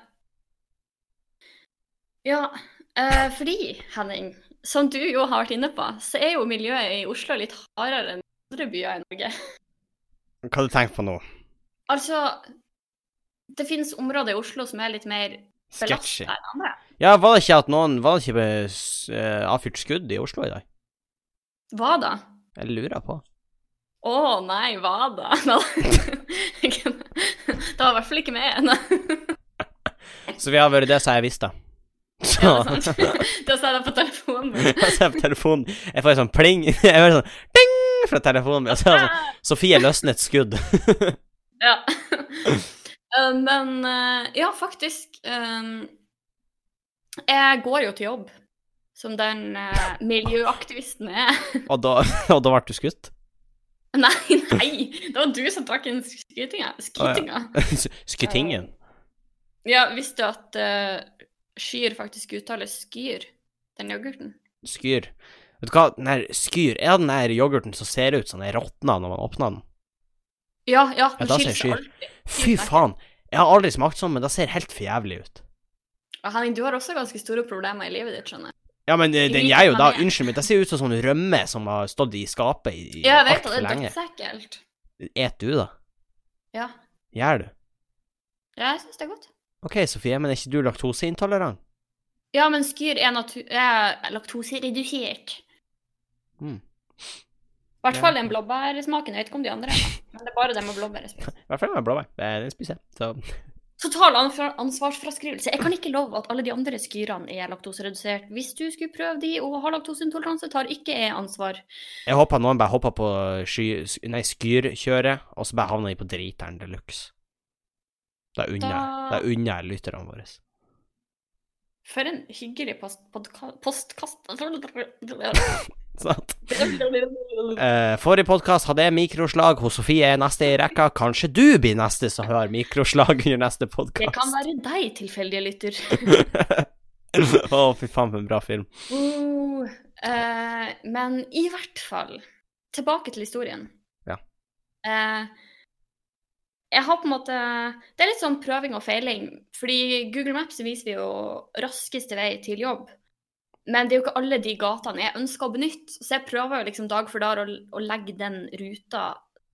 [SPEAKER 2] ja, eh, fordi, Henning, som du jo har vært inne på, så er jo miljøet i Oslo litt hardere enn andre byer i Norge.
[SPEAKER 1] Hva du tenker på nå?
[SPEAKER 2] Altså, det finnes områder i Oslo som er litt mer
[SPEAKER 1] Sketchy.
[SPEAKER 2] belastet enn andre.
[SPEAKER 1] Ja, var det ikke at noen Var det ikke eh, s- eh, avfyrt skudd i Oslo i dag?
[SPEAKER 2] Hva da?
[SPEAKER 1] Jeg lurer på.
[SPEAKER 2] Å nei, hva da? Nei, det var i hvert fall ikke meg ennå.
[SPEAKER 1] Så vi har vært det, så jeg visste. Så
[SPEAKER 2] Ja, det er sant. Da sa jeg det på telefonen. min.
[SPEAKER 1] jeg ser på telefonen Jeg får en sånn pling Jeg hører sånn ding fra telefonen min, og så er det
[SPEAKER 2] Ah!
[SPEAKER 1] sånn Sofie løsnet skudd.
[SPEAKER 2] Ja. Eh, Men eh, ja, faktisk eh, Jeg går jo til jobb, som den eh, miljøaktivisten jeg er.
[SPEAKER 1] Og da, og da ble du skutt?
[SPEAKER 2] Nei, nei! Det var du som trakk inn skrytinga. skrytinga.
[SPEAKER 1] Skytingen?
[SPEAKER 2] Ja, visste du at eh, skyr faktisk uttales skyr? Den yoghurten?
[SPEAKER 1] Skyr. Vet du hva, den her Skyr er den her yoghurten som ser ut som den råtna når man åpner den.
[SPEAKER 2] Ja, ja.
[SPEAKER 1] Ja,
[SPEAKER 2] Den
[SPEAKER 1] da
[SPEAKER 2] skiller
[SPEAKER 1] sier
[SPEAKER 2] seg
[SPEAKER 1] skyr.
[SPEAKER 2] alltid.
[SPEAKER 1] Fy faen! Jeg har aldri smakt sånn, men det ser helt for jævlig ut.
[SPEAKER 2] Og Henning, du har også ganske store problemer i livet ditt, skjønner jeg.
[SPEAKER 1] Ja, men eh, den gjør jo da Unnskyld meg, det ser ut som sånn rømme som har stått i skapet i, i
[SPEAKER 2] Ja, jeg vet
[SPEAKER 1] altfor
[SPEAKER 2] det. Det er
[SPEAKER 1] lenge.
[SPEAKER 2] dødsekkelt.
[SPEAKER 1] Et du, da?
[SPEAKER 2] Ja.
[SPEAKER 1] Gjør du?
[SPEAKER 2] Ja, jeg syns det er godt.
[SPEAKER 1] OK, Sofie, men er ikke du laktoseintolerant?
[SPEAKER 2] Ja, men skyr er, natu- er laktoseredusert.
[SPEAKER 1] Mm.
[SPEAKER 2] I hvert fall den blåbærsmaken. Jeg vet ikke om de andre, men det er bare det med blåbær. jeg spiser.
[SPEAKER 1] I hvert fall med blåbær. Eh, Den spiser jeg. Så
[SPEAKER 2] Total anf- ansvarsfraskrivelse. Jeg kan ikke love at alle de andre skyrene er laktoseredusert. Hvis du skulle prøve de og har laktoseintoleranse, tar ikke jeg ansvar.
[SPEAKER 1] jeg håper noen bare hopper på sky, s- nei, skyrkjøret, og så bare havner de på driteren de luxe. Da unner jeg- da
[SPEAKER 2] Da-
[SPEAKER 1] unner jeg lytterne våre.
[SPEAKER 2] For en hyggelig post, podka- postkast...
[SPEAKER 1] Sant? Eh, forrige podkast hadde jeg mikroslag. Hos Sofie er neste i rekka. Kanskje du blir neste som har mikroslag under neste
[SPEAKER 2] Det kan
[SPEAKER 1] podkast.
[SPEAKER 2] være deg, tilfeldige lytter.
[SPEAKER 1] Å, fy faen, for en bra film.
[SPEAKER 2] Uh, eh, men i hvert fall, tilbake til historien.
[SPEAKER 1] Ja.
[SPEAKER 2] Eh, jeg har på en måte Det er litt sånn prøving og feiling. Fordi Google Maps viser vi jo raskeste vei til jobb. Men det er jo ikke alle de gatene jeg ønsker å benytte. Så jeg prøver jo liksom dag for dag å, å legge den ruta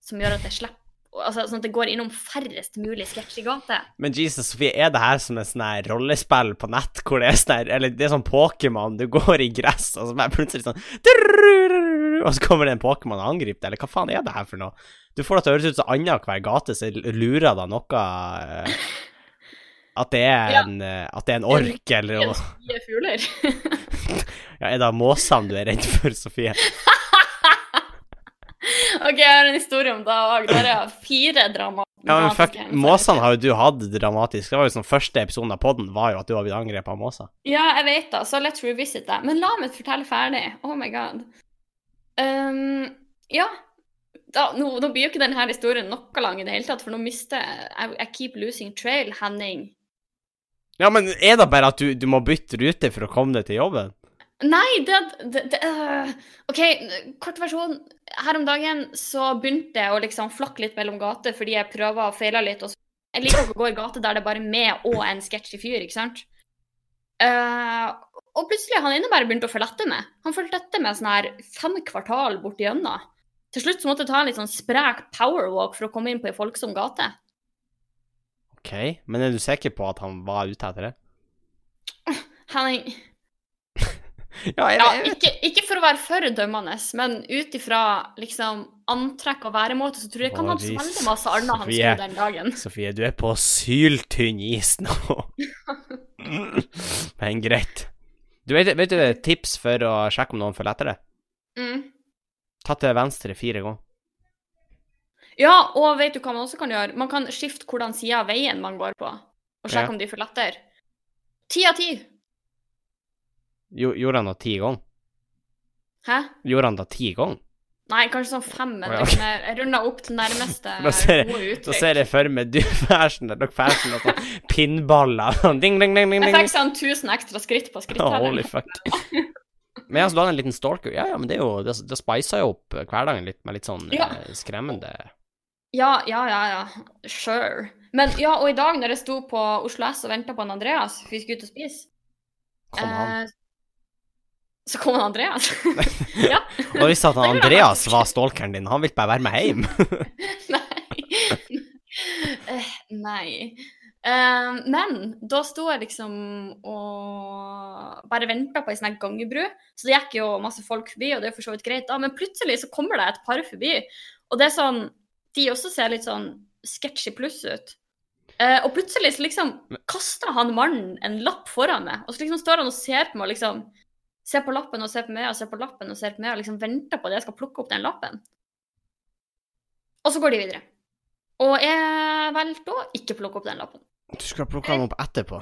[SPEAKER 2] som gjør at jeg slipper Altså sånn at det går innom færrest mulig sketsjy gater.
[SPEAKER 1] Men Jesus, Sofie, er det her som en sånn her rollespill på nett, hvor det er sånn her Eller det er sånn Pokémon, du går i gress, og så bare plutselig sånn «Drrrrrrrr», Og så kommer det en Pokémon og angriper deg, eller hva faen er det her for noe? Du får det til å høres ut som annenhver gate, så lurer deg noe eh, At det er
[SPEAKER 2] Ja.
[SPEAKER 1] en, eh, at det er en ork, eller noe.
[SPEAKER 2] Mye fugler.
[SPEAKER 1] Ja, er det måsene du er redd for, Sofie?
[SPEAKER 2] OK, jeg har en historie om det òg. Der er jeg fire drama.
[SPEAKER 1] Ja, men fuck,
[SPEAKER 2] dramatiske hendelser.
[SPEAKER 1] Måsene har jo du hatt dramatisk. Det var jo sånn Første episoden av podden var jo at du har blitt angrepet av måser.
[SPEAKER 2] Ja, jeg vet det, så let's revisit det. Men la meg fortelle ferdig. Oh my god. Ehm, ja. Da, nå, nå blir jo ikke denne historien noe lang i det hele tatt, for nå mister jeg I, I keep losing trail, Henning.
[SPEAKER 1] Ja, men er det bare at du, du må bytte rute for å komme deg til jobben?
[SPEAKER 2] Nei, det, det, det øh. OK, kort versjon. Her om dagen så begynte jeg å liksom flakke litt mellom gater fordi jeg prøver og feiler litt. Og så, jeg liker ikke å gå i gater der det er bare meg og en sketsjy fyr, ikke sant. Eh, og plutselig han ene bare begynte å følge etter meg. Han fulgte etter meg sånn her fem kvartal borti gjennom. Til slutt så måtte jeg ta en litt sånn sprek powerwalk for å komme inn på ei folksom gate.
[SPEAKER 1] Ok, men er du sikker på at han var ute etter det?
[SPEAKER 2] Henning,
[SPEAKER 1] Ja, jeg,
[SPEAKER 2] Ja, ikke, ikke for å være for dømmende, men ut ifra liksom, antrekk og væremåte, så tror jeg ikke han hadde så
[SPEAKER 1] Åh,
[SPEAKER 2] veldig masse annet han
[SPEAKER 1] Sofie.
[SPEAKER 2] skulle den dagen.
[SPEAKER 1] Sofie, du er på syltynn is nå. men greit. Du vet, vet du et tips for å sjekke om noen følger etter det?
[SPEAKER 2] Mm.
[SPEAKER 1] Ta til venstre fire ganger.
[SPEAKER 2] Ja, og vet du hva man også kan gjøre? Man kan skifte hvordan sida av veien man går på, og sjekke
[SPEAKER 1] Ja.
[SPEAKER 2] om de følger etter. Ti av ti.
[SPEAKER 1] Jo, gjorde han det ti ganger?
[SPEAKER 2] Hæ?
[SPEAKER 1] Gjorde han det ti ganger?
[SPEAKER 2] Nei, kanskje sånn fem,
[SPEAKER 1] Å,
[SPEAKER 2] men
[SPEAKER 1] ja.
[SPEAKER 2] liksom, jeg jeg runder opp til nærmeste
[SPEAKER 1] Da ser jeg-
[SPEAKER 2] gode
[SPEAKER 1] Da
[SPEAKER 2] uttrykk.
[SPEAKER 1] ser jeg for meg du fashion, dere fashion og sånn pinnballer. Sånn ding, ding, ding, ding,
[SPEAKER 2] Jeg
[SPEAKER 1] ding.
[SPEAKER 2] fikk sånn 1000 ekstra skritt på
[SPEAKER 1] Oh,
[SPEAKER 2] skrittelleren.
[SPEAKER 1] holy fuck. Men altså, du hadde en liten stalker. Ja, ja, men det er jo Det, det spicer jo opp eh, hverdagen litt med litt sånn
[SPEAKER 2] Ja.
[SPEAKER 1] eh, skremmende
[SPEAKER 2] Ja, ja, ja, ja. Sure. Men ja, og i dag når jeg sto på Oslo S og venta på han Andreas, for vi skulle ut og spise
[SPEAKER 1] Kom han.
[SPEAKER 2] eh, Så kom han Andreas. ja.
[SPEAKER 1] Og hvis at han
[SPEAKER 2] det er
[SPEAKER 1] Andreas var stalkeren din, han vil bare være med hjem.
[SPEAKER 2] Nei. Eh, Nei. Eh, men da sto jeg liksom og bare venta på ei sånn her gangebru. Så det gikk jo masse folk forbi, og det er for så vidt greit, da. Men plutselig så kommer det et par forbi. Og det er sånn De også ser litt sånn sketchy pluss ut. Eh, og plutselig så liksom kaster han mannen en lapp foran meg, og så liksom står han og ser på meg og liksom Ser på lappen og ser på meg og ser på lappen og ser på meg og liksom venter på at jeg skal plukke opp den lappen. Og så går de videre. Og jeg valgte å ikke plukke opp den lappen.
[SPEAKER 1] Du skulle ha plukka han opp etterpå.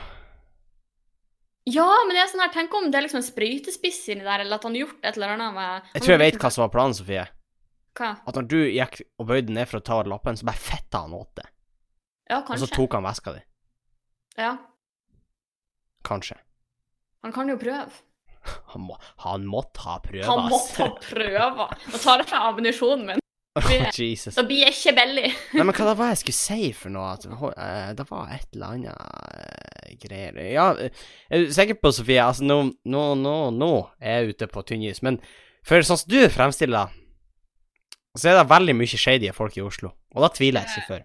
[SPEAKER 2] Ja, men det er sånn her, tenk om det er liksom en sprøytespiss inni der, eller at han har gjort et eller annet med
[SPEAKER 1] Jeg tror jeg vet hva som var planen, Sofie.
[SPEAKER 2] Hva?
[SPEAKER 1] At når du gikk og bøyde ned for å ta lappen, så bare fetta han åt det.
[SPEAKER 2] Ja,
[SPEAKER 1] Og så
[SPEAKER 2] kanskje.
[SPEAKER 1] tok han veska di.
[SPEAKER 2] Ja,
[SPEAKER 1] Kanskje.
[SPEAKER 2] han kan jo prøve.
[SPEAKER 1] Han, må, han måtte ha prøva,
[SPEAKER 2] Han måtte ha prøve. Nå tar jeg fra ammunisjonen min.
[SPEAKER 1] Oh, Jesus.
[SPEAKER 2] Da blir jeg ikke billig.
[SPEAKER 1] Nei, men hva det var jeg skulle si for noe? At, ho- eh, det var et eller annet eh, greier Ja, eh, jeg er sikker på, Sofie, altså nå, nå, nå, nå er jeg ute på tynnis, men for sånn som du fremstiller det, så er det veldig mye shady folk i Oslo, og da tviler jeg ikke før.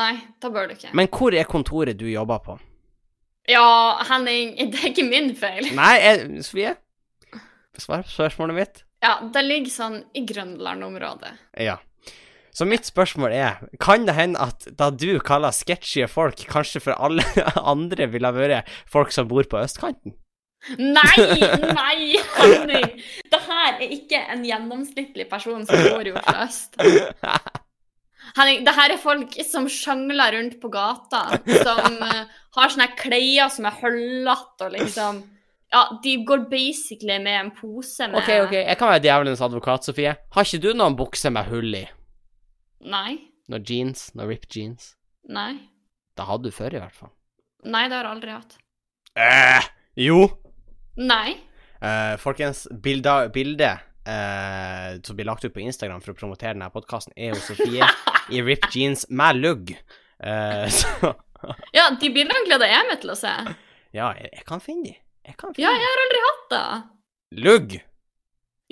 [SPEAKER 2] Nei, da bør du ikke.
[SPEAKER 1] Men hvor er kontoret du jobber på?
[SPEAKER 2] Ja, Henning, det er ikke min feil.
[SPEAKER 1] Nei, jeg, Sofie? Svar på spørsmålet mitt.
[SPEAKER 2] Ja, det ligger sånn i Grønland-området.
[SPEAKER 1] Ja. Så mitt spørsmål er, kan det hende at da du kaller sketchy folk, kanskje for alle andre ville ha vært folk som bor på østkanten?
[SPEAKER 2] Nei, nei, Henning! Det her er ikke en gjennomsnittlig person som bor i Oslo øst. Henning, det her er folk som sjangler rundt på gata, som eh, har sånne her klær som er hullete og liksom Ja, de går basically med en pose med
[SPEAKER 1] OK, OK, jeg kan være djevelens advokat, Sofie. Har ikke du noen bukse med hull i?
[SPEAKER 2] Nei.
[SPEAKER 1] Noen jeans? Noen ripped jeans?
[SPEAKER 2] Nei.
[SPEAKER 1] Det hadde du før, i hvert fall.
[SPEAKER 2] Nei, det har jeg aldri hatt.
[SPEAKER 1] eh, jo.
[SPEAKER 2] Nei.
[SPEAKER 1] Eh, folkens, bilda, bildet eh, som blir lagt ut på Instagram for å promotere denne podkasten, er jo Sofie i ripped jeans med lugg. Eh, så
[SPEAKER 2] Ja, de bildene gleder jeg meg til å se.
[SPEAKER 1] Ja, jeg, jeg kan finne de. Jeg kan finne
[SPEAKER 2] Ja,
[SPEAKER 1] de.
[SPEAKER 2] jeg har aldri hatt det.
[SPEAKER 1] Lugg!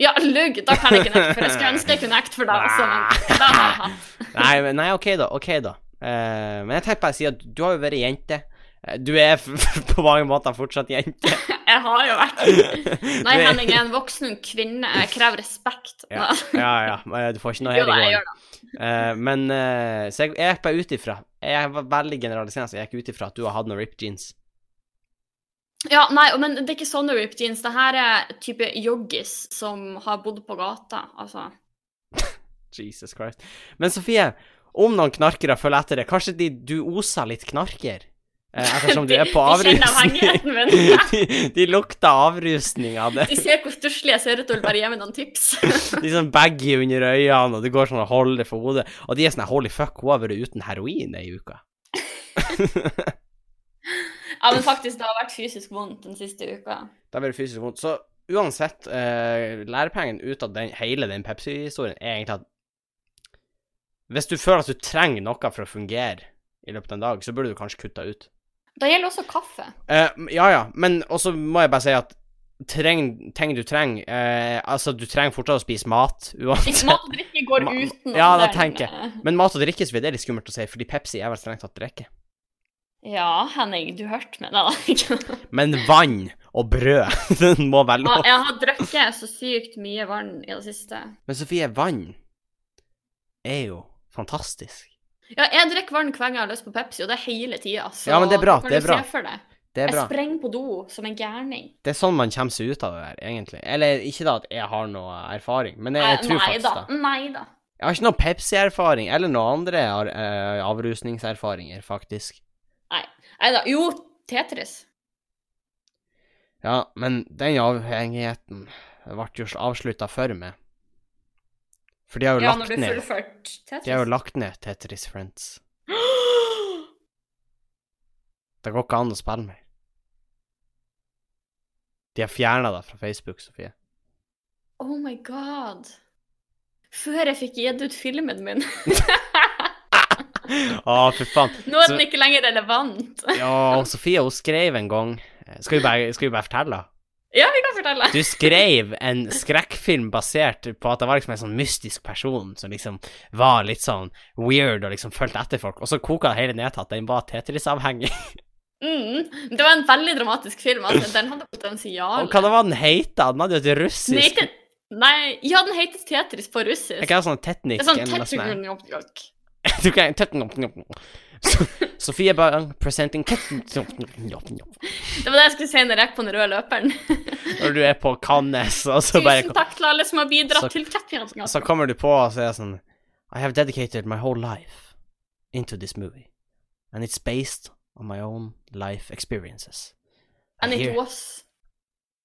[SPEAKER 2] Ja, lugg! Da kan jeg ikke nekte, for jeg skulle ønske jeg kunne nekte for det også, men det har jeg hatt.
[SPEAKER 1] Nei, men nei, OK, da. OK, da. Eh, men jeg tenkte bare å si at du har jo vært jente. Eh, Du er f på mange måter fortsatt jente.
[SPEAKER 2] Jeg har jo vært Nei,
[SPEAKER 1] Nei,
[SPEAKER 2] Henning jeg er en voksen kvinne. Jeg krever respekt.
[SPEAKER 1] Ja, ja, ja. eh, Du får ikke noe her
[SPEAKER 2] Jo,
[SPEAKER 1] i
[SPEAKER 2] da, jeg
[SPEAKER 1] går.
[SPEAKER 2] gjør det.
[SPEAKER 1] Eh, men eh, Så jeg, jeg gikk bare ut ifra Jeg var veldig generaliserende, så jeg gikk ut ifra at du har hatt noen ripped jeans.
[SPEAKER 2] Ja, nei, og- men det er ikke sånne ripped jeans. Det her er type joggis som har bodd på gata, altså.
[SPEAKER 1] Jesus Christ. Men Sofie, om noen knarkere følger etter deg, kanskje de, du oser litt knarker? Eh, ettersom du er på
[SPEAKER 2] De kjenner
[SPEAKER 1] avrusning.
[SPEAKER 2] avhengigheten min.
[SPEAKER 1] de, de lukter avrusning av det.
[SPEAKER 2] De ser hvor stusslig jeg ser ut og vil bare gi meg noen tips.
[SPEAKER 1] De er sånn baggy under øynene, og det går sånn og holder for hodet. Og de er sånn holy fuck, hun har vært uten heroin ei uke.
[SPEAKER 2] Ja, men faktisk, det har vært fysisk vondt den siste uka.
[SPEAKER 1] Da blir det fysisk vondt. Så uansett, eh, lærepengen ut av den, hele den Pepsi-historien er egentlig at hvis du føler at du trenger noe for å fungere i løpet av en dag, så burde du kanskje kutte ut.
[SPEAKER 2] Det gjelder også kaffe.
[SPEAKER 1] Eh, ja, ja, men også må jeg bare si at treng, ting du trenger eh, Altså, du trenger fortsatt å spise mat,
[SPEAKER 2] Hvis
[SPEAKER 1] uansett.
[SPEAKER 2] mat og drikke går
[SPEAKER 1] Ma- ma-
[SPEAKER 2] uten
[SPEAKER 1] ja, da
[SPEAKER 2] den,
[SPEAKER 1] tenker jeg.
[SPEAKER 2] eh,
[SPEAKER 1] Men mat og drikke så vidt er litt skummelt å si, fordi Pepsi er vel strengt tatt drikke.
[SPEAKER 2] Ja, Henning, du hørte meg da.
[SPEAKER 1] Men vann og brød, den må være
[SPEAKER 2] Ja,
[SPEAKER 1] lov.
[SPEAKER 2] Jeg har drukket så sykt mye vann i det siste.
[SPEAKER 1] Men Sofie, vann er jo fantastisk.
[SPEAKER 2] Ja, jeg drikker vann hver gang jeg har lyst på Pepsi, og det er hele altså. tida. Så
[SPEAKER 1] Ja, men det er bra,
[SPEAKER 2] kan
[SPEAKER 1] det er
[SPEAKER 2] du
[SPEAKER 1] bra.
[SPEAKER 2] Se for deg.
[SPEAKER 1] Det er
[SPEAKER 2] Jeg
[SPEAKER 1] bra.
[SPEAKER 2] sprenger på do som en gærning.
[SPEAKER 1] Det er sånn man kommer seg ut av det der, egentlig. Eller ikke da at jeg har noe erfaring, men jeg,
[SPEAKER 2] Eh,
[SPEAKER 1] tror
[SPEAKER 2] nei
[SPEAKER 1] faktisk
[SPEAKER 2] da.
[SPEAKER 1] det.
[SPEAKER 2] Nei da.
[SPEAKER 1] Jeg har ikke noe Pepsi-erfaring, eller noe andre ar- eh, avrusningserfaringer, faktisk.
[SPEAKER 2] Nei da. Jo, Tetris.
[SPEAKER 1] Ja, men den avhengigheten ble jo avslutta for meg. For de har jo
[SPEAKER 3] Ja,
[SPEAKER 1] lagt
[SPEAKER 3] når du
[SPEAKER 1] ned
[SPEAKER 3] fullført
[SPEAKER 1] De har jo
[SPEAKER 3] Tetris.
[SPEAKER 1] lagt ned Tetris Friends. Det går ikke an å spille mer. De har fjerna deg fra Facebook, Sofie.
[SPEAKER 3] Oh my god.
[SPEAKER 2] Før jeg fikk gitt ut filmen min.
[SPEAKER 1] Å, fy faen.
[SPEAKER 2] Nå er
[SPEAKER 1] Så-
[SPEAKER 2] den ikke lenger relevant.
[SPEAKER 1] Ja, og Sofie, hun skrev en gang Eh, Skal vi bare, skal vi bare fortelle? da?
[SPEAKER 2] Ja, vi kan fortelle.
[SPEAKER 1] Du skrev en skrekkfilm basert på at det var liksom en sånn mystisk person som liksom var litt sånn weird og liksom fulgte etter folk, og så koka det hele ned til at den var Tetris-avhengig.
[SPEAKER 2] Mm. Det var en veldig dramatisk film. Altså. Den hadde potensial.
[SPEAKER 1] Og hva det var den heita? Den hadde jo et russisk
[SPEAKER 2] Den heter... Nei, ja, den heter Tetris på
[SPEAKER 1] Er
[SPEAKER 2] russisk.
[SPEAKER 1] ikke det sånn tetnik?
[SPEAKER 2] Det er sånn
[SPEAKER 1] eller noe sånt?
[SPEAKER 2] Tetris
[SPEAKER 1] Du kan tetnik- So- Sofie Bang presenting tetnik-
[SPEAKER 2] Det var det jeg skulle si når jeg gikk på den røde løperen.
[SPEAKER 1] Når du er på Cannes, og så bare
[SPEAKER 2] Tusen takk til alle som har bidratt
[SPEAKER 1] Så-
[SPEAKER 2] til Tetris.
[SPEAKER 1] Så kommer du på, og så er det sånn I have dedicated my whole life into this movie. And it's based on my own life experiences. I,
[SPEAKER 2] And it
[SPEAKER 1] here,
[SPEAKER 2] was.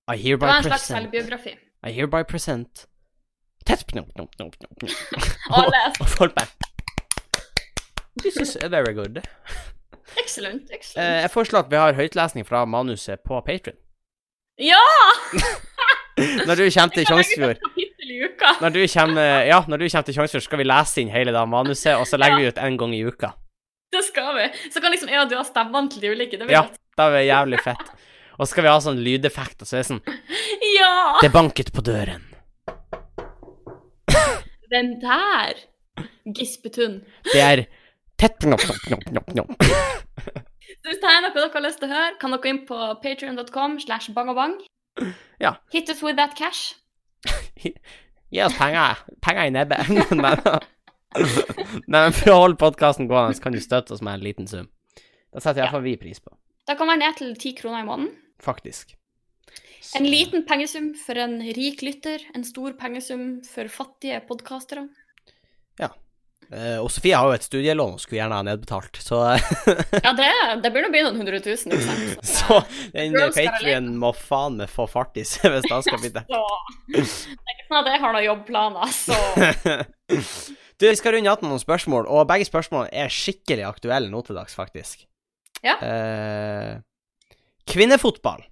[SPEAKER 1] I
[SPEAKER 2] Det var
[SPEAKER 1] hereby
[SPEAKER 2] en slags
[SPEAKER 1] present
[SPEAKER 2] selvbiografi.
[SPEAKER 1] I hereby present Tet- knop, knop, knop, knop, knop.
[SPEAKER 2] Og les.
[SPEAKER 1] Og folk bare This is very good.
[SPEAKER 2] Excellent. excellent.
[SPEAKER 1] Eh, jeg foreslår at vi har høytlesning fra manuset på Patron.
[SPEAKER 2] Ja!
[SPEAKER 1] Når du kommer til Tjongsfjord
[SPEAKER 2] Kapittel i uka.
[SPEAKER 1] Når du kommer, eh, ja, når du kommer til Tjongsfjord, skal vi lese inn hele det manuset, og så legger vi ut en gang i uka.
[SPEAKER 2] Det skal vi. Så kan liksom jeg og du ha stemmene til de ulike. Det blir
[SPEAKER 1] Ja.
[SPEAKER 2] litt-
[SPEAKER 1] Da er det jævlig fett. Og så skal vi ha sånn lydeffekt, og så er det sånn
[SPEAKER 2] ja!
[SPEAKER 1] Det banket på døren.
[SPEAKER 2] Den der gispetun.
[SPEAKER 1] Det er tett knopp, knopp, knopp, knopp, knopp.
[SPEAKER 2] Så Hvis det er noe dere har lyst til å høre, kan dere inn på patreon.com slash bangabang.
[SPEAKER 1] Ja.
[SPEAKER 2] Hit us with that cash.
[SPEAKER 1] Gi oss penger. Penger i nebbet. Men, men for å holde podkasten gående, så kan du støtte oss med en liten sum. Det setter iallfall vi pris på.
[SPEAKER 2] Det kan være ned til ti kroner i måneden.
[SPEAKER 1] Faktisk. Så-
[SPEAKER 2] En liten pengesum for en rik lytter, en stor pengesum for fattige podkastere.
[SPEAKER 1] Eh, og Sofie har jo et studielån og skulle gjerne ha nedbetalt, så,
[SPEAKER 2] Ja, det, det burde bli noen hundre tusen, ikke sant.
[SPEAKER 1] så den
[SPEAKER 2] Girls gotta
[SPEAKER 1] Patrion må faen meg få fart i seg hvis det skal bli det.
[SPEAKER 2] Så det er ikke sånn at jeg har noen jobbplaner, så
[SPEAKER 1] Du, vi skal runde av med noen spørsmål, og begge spørsmålene er skikkelig aktuelle nå til dags, faktisk.
[SPEAKER 2] Ja.
[SPEAKER 1] Eh, kvinnefotball.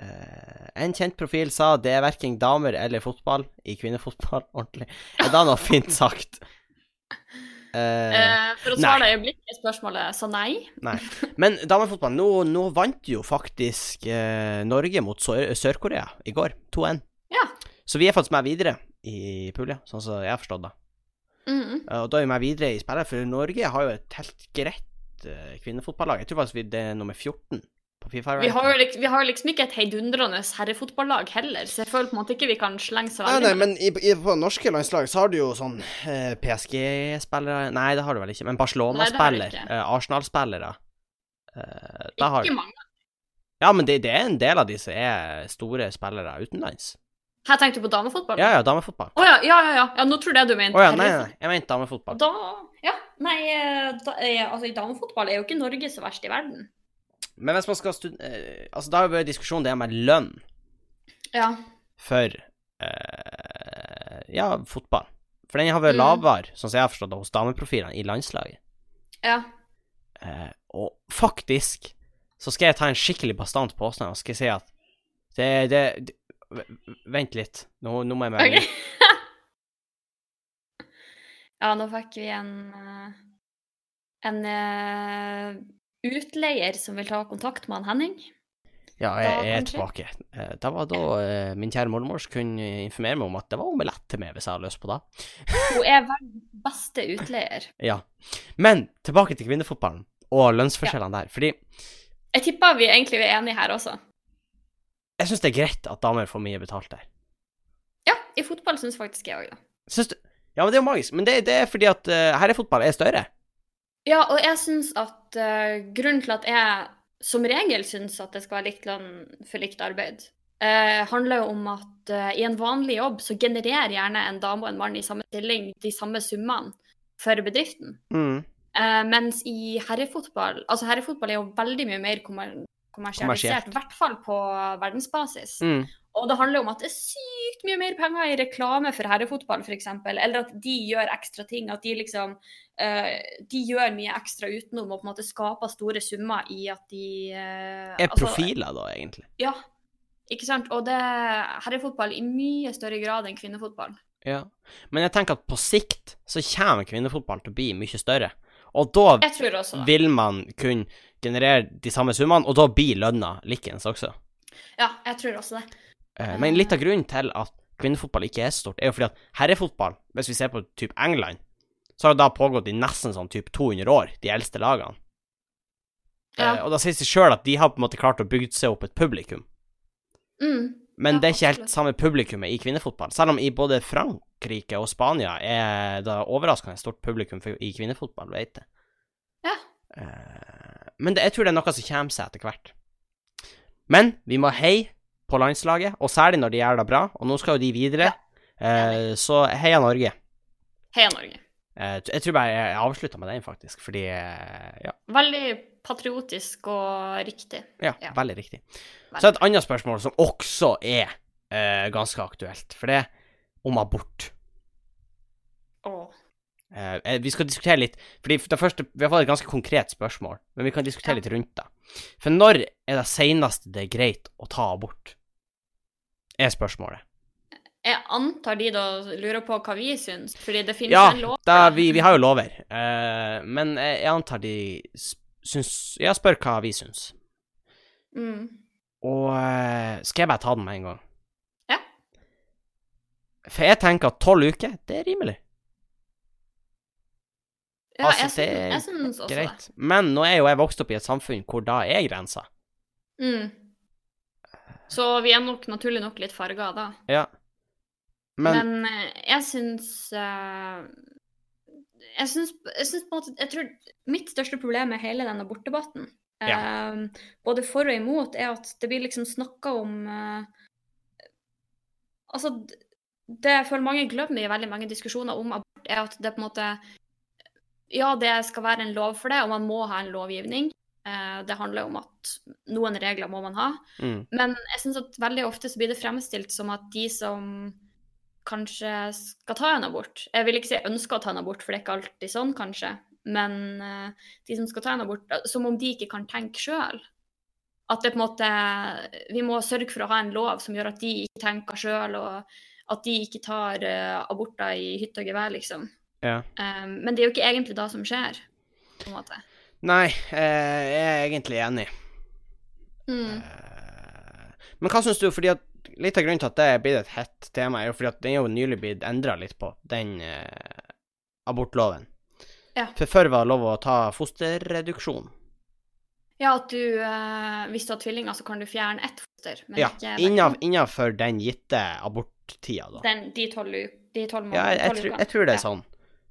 [SPEAKER 1] Eh, en kjent profil sa det er verken damer eller fotball i kvinnefotball ordentlig. Er det noe fint sagt? Eh,
[SPEAKER 2] eh, For å svare deg øyeblikkelig spørsmålet, så nei.
[SPEAKER 1] men damefotball, nå, nå vant jo faktisk eh, Norge mot Sør- Sør-Korea i går. 2-1.
[SPEAKER 2] Ja.
[SPEAKER 1] Så vi er faktisk med videre i pulja, sånn som jeg har forstått det.
[SPEAKER 2] Mhm.
[SPEAKER 1] Eh, Og da er vi med videre i spillet, for Norge har jo et helt greit eh, kvinnefotballag. Jeg tror faktisk vi det er nummer 14 på Fifa.
[SPEAKER 2] Vi har, jo liksom, vi har jo liksom ikke et heidundrende herrefotballag heller, så jeg føler på en måte ikke vi kan slenge så
[SPEAKER 1] Nei,
[SPEAKER 2] veldig
[SPEAKER 1] nei,
[SPEAKER 2] med det.
[SPEAKER 1] men i, i, på norske landslag så har du jo sånn eh, PSG-spillere Nei, det har du vel ikke, men
[SPEAKER 2] Nei, det
[SPEAKER 1] Barcelona-spiller,
[SPEAKER 2] har vi ikke.
[SPEAKER 1] eh, Arsenal-spillere. Eh, da har
[SPEAKER 2] Ikke mange.
[SPEAKER 1] Ja, men det, det er en del av de som er store spillere utenlands.
[SPEAKER 2] Her tenkte du på damefotball?
[SPEAKER 1] Ja, ja, damefotball.
[SPEAKER 2] Å ja, ja, ja, ja. ja. Nå trodde jeg du
[SPEAKER 1] Å
[SPEAKER 2] mente
[SPEAKER 1] ja, nei,
[SPEAKER 2] herrefotball.
[SPEAKER 1] nei, jeg mente damefotball.
[SPEAKER 2] Da, ja, nei, eh, da, eh, altså i damefotball er jo ikke Norge så verst i verden.
[SPEAKER 1] Men hvis man skal studere Altså, da har vi diskusjonen det med lønn.
[SPEAKER 2] Ja.
[SPEAKER 1] for eh, ja, fotball. For den har vært
[SPEAKER 2] Mm.
[SPEAKER 1] lavere, sånn som jeg har forstått det, hos dameprofilene i landslaget.
[SPEAKER 2] Ja.
[SPEAKER 1] Eh, og faktisk så skal jeg ta en skikkelig bastant påstand og skal si at det, det, det v- Vent litt, nå, nå må jeg melde
[SPEAKER 2] Ok. ja, nå fikk vi en eh, en eh, utleier som vil ta kontakt med han Henning.
[SPEAKER 1] Ja,
[SPEAKER 2] Da,
[SPEAKER 1] jeg er
[SPEAKER 2] kanskje?
[SPEAKER 1] tilbake. Eh, Det var da eh, min kjære mormor kunne informere meg om at det var omelett til meg hvis jeg hadde lyst på det.
[SPEAKER 2] Hun er verdens beste utleier.
[SPEAKER 1] Ja. Men tilbake til kvinnefotballen og lønnsforskjellene der. Fordi
[SPEAKER 2] Jeg tipper vi egentlig er enige her også.
[SPEAKER 1] jeg syns det er greit at damer får mye betalt der.
[SPEAKER 2] Ja, i fotball syns faktisk jeg òg det.
[SPEAKER 1] Syns du Ja, men det er jo magisk. Men det, det er fordi at uh, herrefotball er større.
[SPEAKER 2] Ja, og jeg syns at eh, grunnen til at jeg som regel syns at det skal være likt lønn for likt arbeid, eh, handler jo om at eh, i en vanlig jobb så genererer gjerne en dame og en mann i samme stilling de samme summene for bedriften. Eh, mens i herrefotball Altså, herrefotball er jo veldig mye mer kommer kommersialisert,
[SPEAKER 1] Kommersielt. Mm.
[SPEAKER 2] i hvert fall på verdensbasis. Og det handler om at det er sykt sykt mye mer penger i reklame for herrefotball, f.eks. Eller at de gjør ekstra ting. At de liksom eh, De gjør mye ekstra utenom og på en måte skaper store summer i at de eh,
[SPEAKER 1] Er
[SPEAKER 2] altså-
[SPEAKER 1] profiler, da, egentlig?
[SPEAKER 2] Ja. Ikke sant. Og det herrefotball i mye større grad enn kvinnefotball.
[SPEAKER 1] Ja. Men jeg tenker at på sikt så kommer kvinnefotball til å bli mye større. Og da
[SPEAKER 2] Jeg tror også det.
[SPEAKER 1] vil man kunne generere de samme summene, og da blir lønna likens også.
[SPEAKER 2] Ja, jeg tror også det.
[SPEAKER 1] Eh, Men litt av grunnen til at kvinnefotball ikke er så stort, er jo fordi at herrefotball, hvis vi ser på typ England, så har det da pågått i nesten sånn typ 200 år, de eldste lagene.
[SPEAKER 2] Ja.
[SPEAKER 1] Eh, Og da sier det seg sjøl at de har på en måte klart å bygge seg opp et publikum.
[SPEAKER 2] Mm.
[SPEAKER 1] Men
[SPEAKER 2] Ja,
[SPEAKER 1] det er ikke helt
[SPEAKER 2] absolutt.
[SPEAKER 1] samme publikummet i kvinnefotball. Selv om i både Frankrike og Spania er det overraskende stort publikum for, i kvinnefotball, vet jeg.
[SPEAKER 2] Ja.
[SPEAKER 1] Eh, Men det, jeg tror det er noe som kommer seg etter hvert. Men vi må heie på landslaget, og særlig når de gjør det bra. Og nå skal jo de videre, Eh, så heia Norge.
[SPEAKER 2] Heia Norge.
[SPEAKER 1] Eh, Jeg tror bare jeg avslutta med den, faktisk, fordi eh, ja.
[SPEAKER 2] Veldig patriotisk og riktig.
[SPEAKER 1] Ja,
[SPEAKER 2] Ja.
[SPEAKER 1] veldig riktig.
[SPEAKER 2] Veldig.
[SPEAKER 1] Så et annet spørsmål som også er eh, ganske aktuelt, for det er om abort.
[SPEAKER 2] Åh.
[SPEAKER 1] Eh, eh, vi skal diskutere litt, fordi det første, vi har fått et ganske konkret spørsmål, men vi kan diskutere
[SPEAKER 2] Ja.
[SPEAKER 1] litt rundt det. For når er det seneste det er greit å ta abort? Er spørsmålet.
[SPEAKER 2] Jeg antar de da lurer på hva vi syns, fordi det finnes
[SPEAKER 1] Ja,
[SPEAKER 2] en lov
[SPEAKER 1] da, vi, vi har jo lover, eh, men jeg, jeg antar de s- syns Ja, spør hva vi syns.
[SPEAKER 2] mm.
[SPEAKER 1] Og eh, skal jeg bare ta den med en gang?
[SPEAKER 2] Ja.
[SPEAKER 1] For jeg tenker at tolv uker, det er rimelig.
[SPEAKER 2] Ja,
[SPEAKER 1] Altså, det
[SPEAKER 2] jeg,
[SPEAKER 1] er
[SPEAKER 2] syn- jeg syns også det.
[SPEAKER 1] Greit. Men nå er jo jeg vokst opp i et samfunn hvor da er grensa.
[SPEAKER 2] Mm. Så vi er nok naturlig nok litt farga da.
[SPEAKER 1] Ja. Men,
[SPEAKER 2] Men, eh, jeg syns eh, jeg syns, jeg syns på en måte Jeg tror mitt største problem med hele den abortdebatten,
[SPEAKER 1] Ja.
[SPEAKER 2] eh, både for og imot, er at det blir liksom snakka om eh, Altså, d- det jeg føler mange glemmer i veldig mange diskusjoner om abort, er at det på en måte Ja, det skal være en lov for det, og man må ha en lovgivning. Eh, det handler om at noen regler må man ha.
[SPEAKER 1] mm,
[SPEAKER 2] Men jeg syns at veldig ofte så blir det fremstilt som at de som kanskje skal ta en abort Jeg vil ikke si ønsker å ta en abort, for det er ikke alltid sånn, kanskje. Men eh, de som skal ta en abort, eh, som om de ikke kan tenke sjøl. At det på en måte Vi må sørge for å ha en lov som gjør at de ikke tenker sjøl, og at de ikke tar eh, aborter i hytte og gevær, liksom.
[SPEAKER 1] ja.
[SPEAKER 2] Eh, men det er jo ikke egentlig det som skjer, på en måte.
[SPEAKER 1] Nei, eh, jeg er egentlig enig.
[SPEAKER 2] Mm.
[SPEAKER 1] Eh, Men hva syns du, fordi at litt av grunnen til at det er blitt et hett tema, er jo fordi at den er jo nylig blitt endra litt på, den eh, abortloven.
[SPEAKER 2] Ja.
[SPEAKER 1] For før var det lov å ta fosterreduksjon.
[SPEAKER 2] Ja, at du eh, Hvis du har tvillinger, så kan du fjerne ett foster. Men
[SPEAKER 1] Ja,
[SPEAKER 2] ikke
[SPEAKER 1] innav, Innafor den gitte aborttida, da.
[SPEAKER 2] den, de tolv u- de tolv
[SPEAKER 1] Ja, jeg,
[SPEAKER 2] månedene.
[SPEAKER 1] jeg,
[SPEAKER 2] tolv
[SPEAKER 1] tror,
[SPEAKER 2] ukene.
[SPEAKER 1] jeg tror det er
[SPEAKER 2] Ja.
[SPEAKER 1] sånn,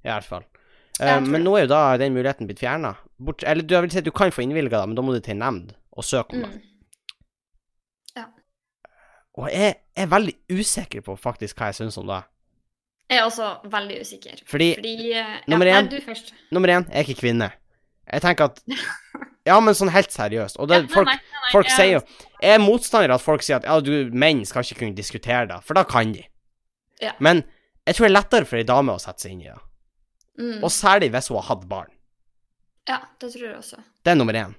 [SPEAKER 1] i hvert fall.
[SPEAKER 2] Ja, jeg
[SPEAKER 1] Eh,
[SPEAKER 2] tror
[SPEAKER 1] men
[SPEAKER 2] det.
[SPEAKER 1] nå er jo da den muligheten blitt fjerna. Eller du, jeg vil si, at du kan få innvilga det, men da må du til nemnd og søke om det.
[SPEAKER 2] Mm.
[SPEAKER 1] Og jeg er veldig usikker på faktisk hva jeg syns om det.
[SPEAKER 2] Jeg er også veldig usikker.
[SPEAKER 1] Fordi,
[SPEAKER 2] Fordi eh,
[SPEAKER 1] Nummer
[SPEAKER 2] ja,
[SPEAKER 1] én.
[SPEAKER 2] Nei, du først.
[SPEAKER 1] nummer én, jeg er ikke kvinne. Jeg tenker at Ja, men sånn helt seriøst. Og det,
[SPEAKER 2] Ja, nei,
[SPEAKER 1] folk,
[SPEAKER 2] nei, nei, nei,
[SPEAKER 1] folk
[SPEAKER 2] jeg-
[SPEAKER 1] sier jo Jeg er motstander av at folk sier at ja, du, menn skal ikke kunne diskutere det, for da kan de.
[SPEAKER 2] Ja.
[SPEAKER 1] Men jeg tror det er lettere for ei dame å sette seg inn i det.
[SPEAKER 2] mm.
[SPEAKER 1] Og særlig hvis hun har hatt barn.
[SPEAKER 2] Ja, det tror jeg også.
[SPEAKER 1] Det er nummer én.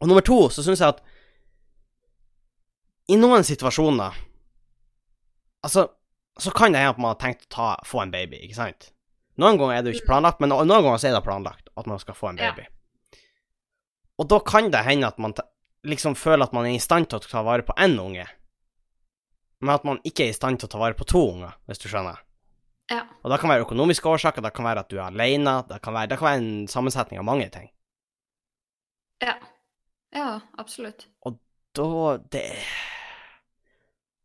[SPEAKER 1] Og nummer to, så syns jeg at i noen situasjoner Altså, så kan det hende at man har tenkt å ta, få en baby, ikke sant? Noen ganger er det jo ikke planlagt, men no- noen ganger så er det planlagt at man skal få en
[SPEAKER 2] Ja.
[SPEAKER 1] baby. Og da kan det hende at man te- liksom føler at man er i stand til å ta vare på én unge, men at man ikke er i stand til å ta vare på to unger, hvis du skjønner.
[SPEAKER 2] Ja.
[SPEAKER 1] Og det kan være økonomiske årsaker, det kan være at du er alene, det kan være, det kan være en sammensetning av mange ting.
[SPEAKER 2] Ja. ja, absolutt.
[SPEAKER 1] da det,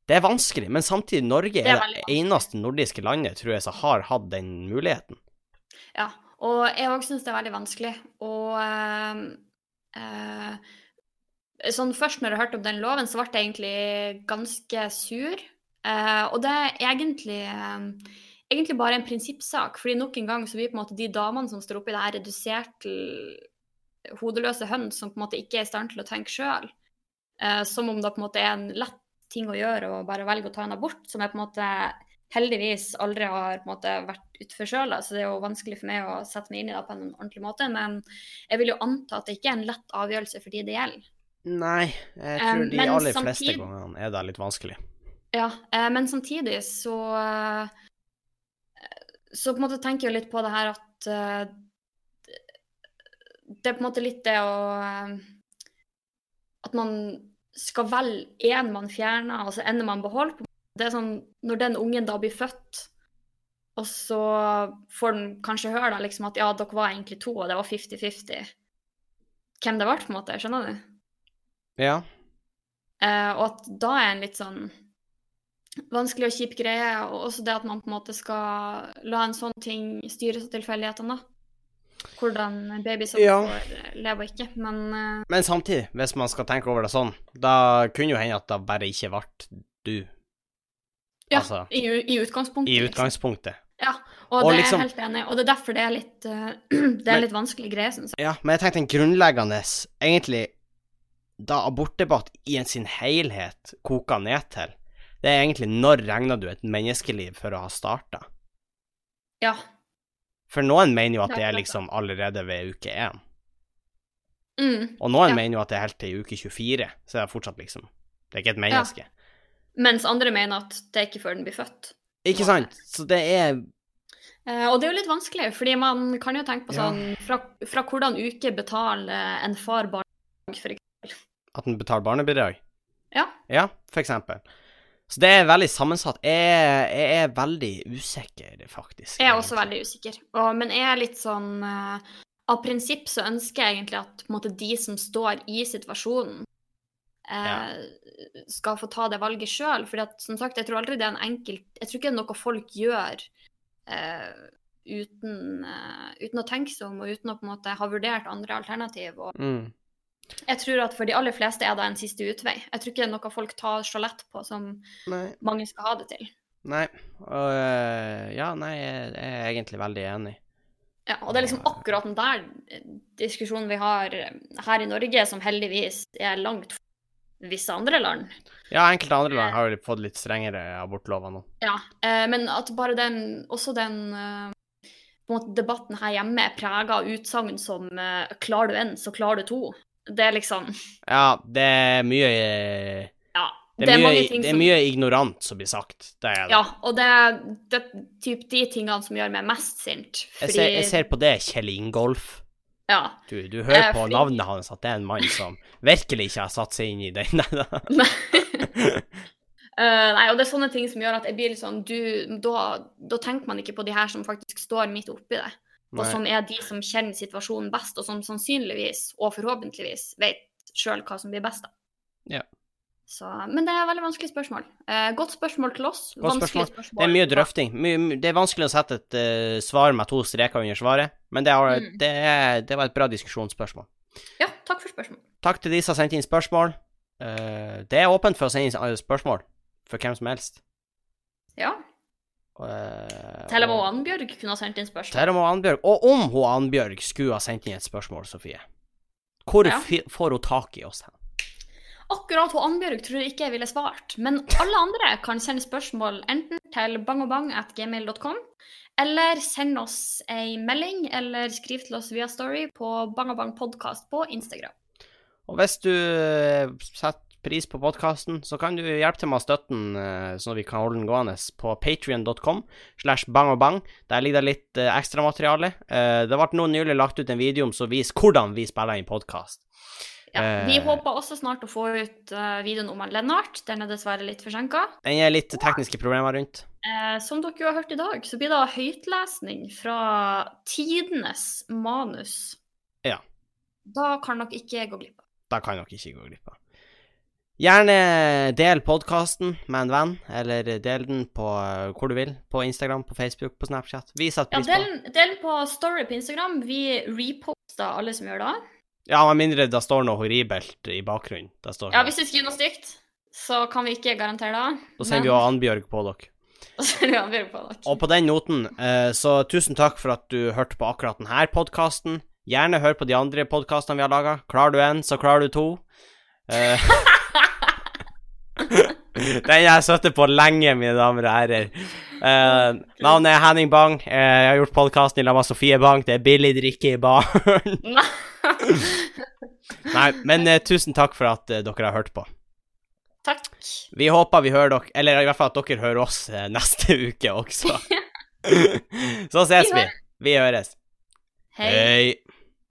[SPEAKER 1] det er vanskelig, men samtidig Norge er
[SPEAKER 2] er
[SPEAKER 1] det
[SPEAKER 2] veldig vanskelig.
[SPEAKER 1] eneste nordiske landet, tror jeg, som har hatt den muligheten.
[SPEAKER 2] Ja. Og jeg òg syns det er veldig vanskelig. Og eh, eh, sånn først når jeg hørte om den loven, så ble jeg egentlig ganske sur. Eh, og det er egentlig eh, Egentlig bare en prinsippsak, fordi nok en gang så blir på en måte de damene som står oppi det her, redusert til eh, hodeløse høns som på en måte ikke er i stand til å tenke sjøl. som om det på en måte er en lett ting å gjøre og bare velger å ta en abort, som jeg på en måte heldigvis aldri har på en måte vært utforkjøla, så det er jo vanskelig for meg å sette meg inn i det på en ordentlig måte. Men jeg vil jo anta at det ikke er en lett avgjørelse for de det gjelder.
[SPEAKER 1] Nei, jeg tror
[SPEAKER 2] Eh,
[SPEAKER 1] de
[SPEAKER 2] men
[SPEAKER 1] aller fleste
[SPEAKER 2] samtid-
[SPEAKER 1] gangene er det litt vanskelig.
[SPEAKER 2] Ja, eh, men samtidig så eh, Så på en måte tenker jeg jo litt på det her at eh, Det er på en måte litt det å eh, At man skal velge én man fjerner, og så en man beholder. på en måte. Det er sånn når den ungen da blir født, og så får den kanskje høre da liksom at ja, dere var egentlig to, og det var 50-50 hvem det ble, på en måte. Skjønner du?
[SPEAKER 1] Ja.
[SPEAKER 2] Eh, og at da er en litt sånn vanskelig og kjip greie, og også det at man på en måte skal la en sånn ting styres av tilfeldighetene, da. Hvordan baby som
[SPEAKER 1] Ja.
[SPEAKER 2] får leve og ikke. Men eh,
[SPEAKER 1] Men samtidig, hvis man skal tenke over det sånn, da kunne jo hende at det bare ikke ble du.
[SPEAKER 2] ja,
[SPEAKER 1] Altså,
[SPEAKER 2] i, u- i utgangspunktet.
[SPEAKER 1] i
[SPEAKER 2] liksom.
[SPEAKER 1] utgangspunktet.
[SPEAKER 2] Og,
[SPEAKER 1] og
[SPEAKER 2] det
[SPEAKER 1] liksom-
[SPEAKER 2] er jeg helt enig, i, og det er derfor det er litt, eh, det er
[SPEAKER 1] Men-
[SPEAKER 2] litt vanskelig greie, syns jeg.
[SPEAKER 1] Ja, men jeg tenkte en grunnleggende Egentlig, da abortdebatt i en sin helhet koker ned til, det er egentlig når regner du et menneskeliv for å ha starta?
[SPEAKER 2] Ja.
[SPEAKER 1] For noen mener jo at
[SPEAKER 2] Det er
[SPEAKER 1] det er
[SPEAKER 2] akkurat det.
[SPEAKER 1] liksom allerede ved uke én,
[SPEAKER 2] Mm.
[SPEAKER 1] og noen
[SPEAKER 2] Ja.
[SPEAKER 1] mener jo at det er helt til uke 24, så det er fortsatt liksom Det er ikke et menneske.
[SPEAKER 2] Mens andre mener at det er ikke før den blir født.
[SPEAKER 1] Ikke sant? Så det er
[SPEAKER 2] Eh, og det er jo litt vanskelig, fordi man kan jo tenke på
[SPEAKER 1] Ja.
[SPEAKER 2] sånn fra, fra hvordan uke betaler en far barn, for eksempel.
[SPEAKER 1] at den betaler barnebidrag.
[SPEAKER 2] Ja.
[SPEAKER 1] Ja, for eksempel. Så det er veldig sammensatt. Jeg, jeg er veldig usikker, faktisk.
[SPEAKER 2] Jeg er også
[SPEAKER 1] egentlig.
[SPEAKER 2] veldig usikker. Og, men jeg er litt sånn eh, Av prinsipp så ønsker jeg egentlig at på en måte, de som står i situasjonen, eh, skal få ta det valget sjøl. For som sagt, jeg tror aldri det er en enkelt Jeg tror ikke det er noe folk gjør eh, uten, eh, uten å tenke seg om og uten å på en måte ha vurdert andre alternativ. Og
[SPEAKER 1] Mm.
[SPEAKER 2] jeg tror at for de aller fleste er det en siste utvei. Jeg tror ikke det er noe folk tar så lett på som
[SPEAKER 1] Nei.
[SPEAKER 2] mange skal ha det til.
[SPEAKER 1] Nei. Øh, ja, nei, jeg er egentlig veldig enig.
[SPEAKER 2] Ja, og det er liksom akkurat den der eh, diskusjonen vi har eh, her i Norge, som heldigvis er langt fra visse andre land.
[SPEAKER 1] Ja, enkelte andre land har jo fått litt strengere abortlover nå.
[SPEAKER 2] Eh, men at bare den, også den eh, på en måte debatten her hjemme er prega av utsagn som eh, 'klarer du én, så klarer du to'. Det er liksom
[SPEAKER 1] Ja, det er mye
[SPEAKER 2] Ja.
[SPEAKER 1] Det er, mye,
[SPEAKER 2] mange ting
[SPEAKER 1] det er
[SPEAKER 2] som
[SPEAKER 1] mye ignorant som blir sagt. Det er det.
[SPEAKER 2] Ja, og det er, det er typ de tingene som gjør meg mest sint.
[SPEAKER 1] jeg, ser, jeg ser på det Kjell Ingolf.
[SPEAKER 2] Ja.
[SPEAKER 1] Du, du hører
[SPEAKER 2] Eh,
[SPEAKER 1] på
[SPEAKER 2] fordi-
[SPEAKER 1] navnet hans at det er en mann som virkelig ikke har satt seg inn i den. Nei, da.
[SPEAKER 2] Eh, nei, og det er sånne ting som gjør at jeg blir litt sånn du, da, da tenker man ikke på de her som faktisk står midt oppi det. og sånn
[SPEAKER 1] Nei.
[SPEAKER 2] som er de som kjenner situasjonen best, og som sannsynligvis, og forhåpentligvis, vet sjøl hva som blir best. da.
[SPEAKER 1] Ja.
[SPEAKER 2] Så, men det er et veldig vanskelig spørsmål. Eh, godt spørsmål til oss.
[SPEAKER 1] Godt
[SPEAKER 2] vanskelig
[SPEAKER 1] spørsmål. Det er mye drøfting. My, my- det er vanskelig å sette et eh, svar med to streker under svaret, men det, har,
[SPEAKER 2] Mm.
[SPEAKER 1] det, er- det var et bra diskusjonsspørsmål.
[SPEAKER 2] Ja, takk for spørsmål.
[SPEAKER 1] Takk til de som har sendt inn spørsmål. Eh, det er åpent for å sende inn eh, spørsmål for hvem som helst.
[SPEAKER 2] Ja.
[SPEAKER 1] Eh,
[SPEAKER 2] Til og med
[SPEAKER 1] og-
[SPEAKER 2] Annbjørg kunne ha sendt inn spørsmål.
[SPEAKER 1] Til og med Annbjørg. Og om hun Annbjørg skulle ha sendt inn et spørsmål, Sofie, hvor
[SPEAKER 2] Ja.
[SPEAKER 1] fi- får hun tak i oss hen?
[SPEAKER 2] Akkurat hun Annbjørg tror jeg ikke jeg ville svart, men alle andre kan sende spørsmål enten til bangobang.gmail.com, eller send oss ei melding, eller skriv til oss via Story på bangobangpodkast på Instagram.
[SPEAKER 1] Og hvis du eh, setter pris på podkasten, så kan du hjelpe til med å støtte den, eh, sånn at vi kan holde den gående, på patrion.com slash bangobang. Der ligger det litt eh, ekstramateriale. Eh, Det ble nå nylig lagt ut en video som viser hvordan vi spiller inn podkast.
[SPEAKER 2] Ja, vi
[SPEAKER 1] Eh.
[SPEAKER 2] håper også snart å få ut eh, videoen om han Lennart. Den er dessverre litt forsinka.
[SPEAKER 1] Den er litt tekniske problemer rundt.
[SPEAKER 2] Eh, som dere jo har hørt i dag, så blir det høytlesning fra tidenes manus.
[SPEAKER 1] Ja.
[SPEAKER 2] Da kan nok ikke jeg gå glipp av.
[SPEAKER 1] Da kan dere ikke gå glipp av. Gjerne del podkasten med en venn, eller del den på eh, hvor du vil. På Instagram, på Facebook, på Snapchat. Vi setter
[SPEAKER 2] Ja,
[SPEAKER 1] pris på det.
[SPEAKER 2] del, del på story på Instagram. Vi reposter alle som gjør det.
[SPEAKER 1] Ja, med mindre det står noe horribelt i bakgrunnen. Det står
[SPEAKER 2] Ja, hvis du skriver noe stygt, så kan vi ikke garantere det.
[SPEAKER 1] Da sender vi jo Annbjørg på dere.
[SPEAKER 2] Da sender vi Annbjørg på dere.
[SPEAKER 1] Og på den noten, eh, så tusen takk for at du hørte på akkurat denne podkasten. Gjerne hør på de andre podkastene vi har laga. Klarer du én, så klarer du to. Eh, Den jeg har sittet på lenge, mine damer og herrer. Eh, navnet er Henning Bang. Eh, jeg har gjort podkasten i lag med Sofie Bang. Det er billig drikke i baren. Nei, men eh, tusen takk for at eh, dere har hørt på.
[SPEAKER 3] Takk.
[SPEAKER 1] Vi håper vi hører dere, eller i hvert fall at dere hører oss eh, neste uke også. Så ses vi. Vi høres.
[SPEAKER 2] Hei.
[SPEAKER 1] Hei.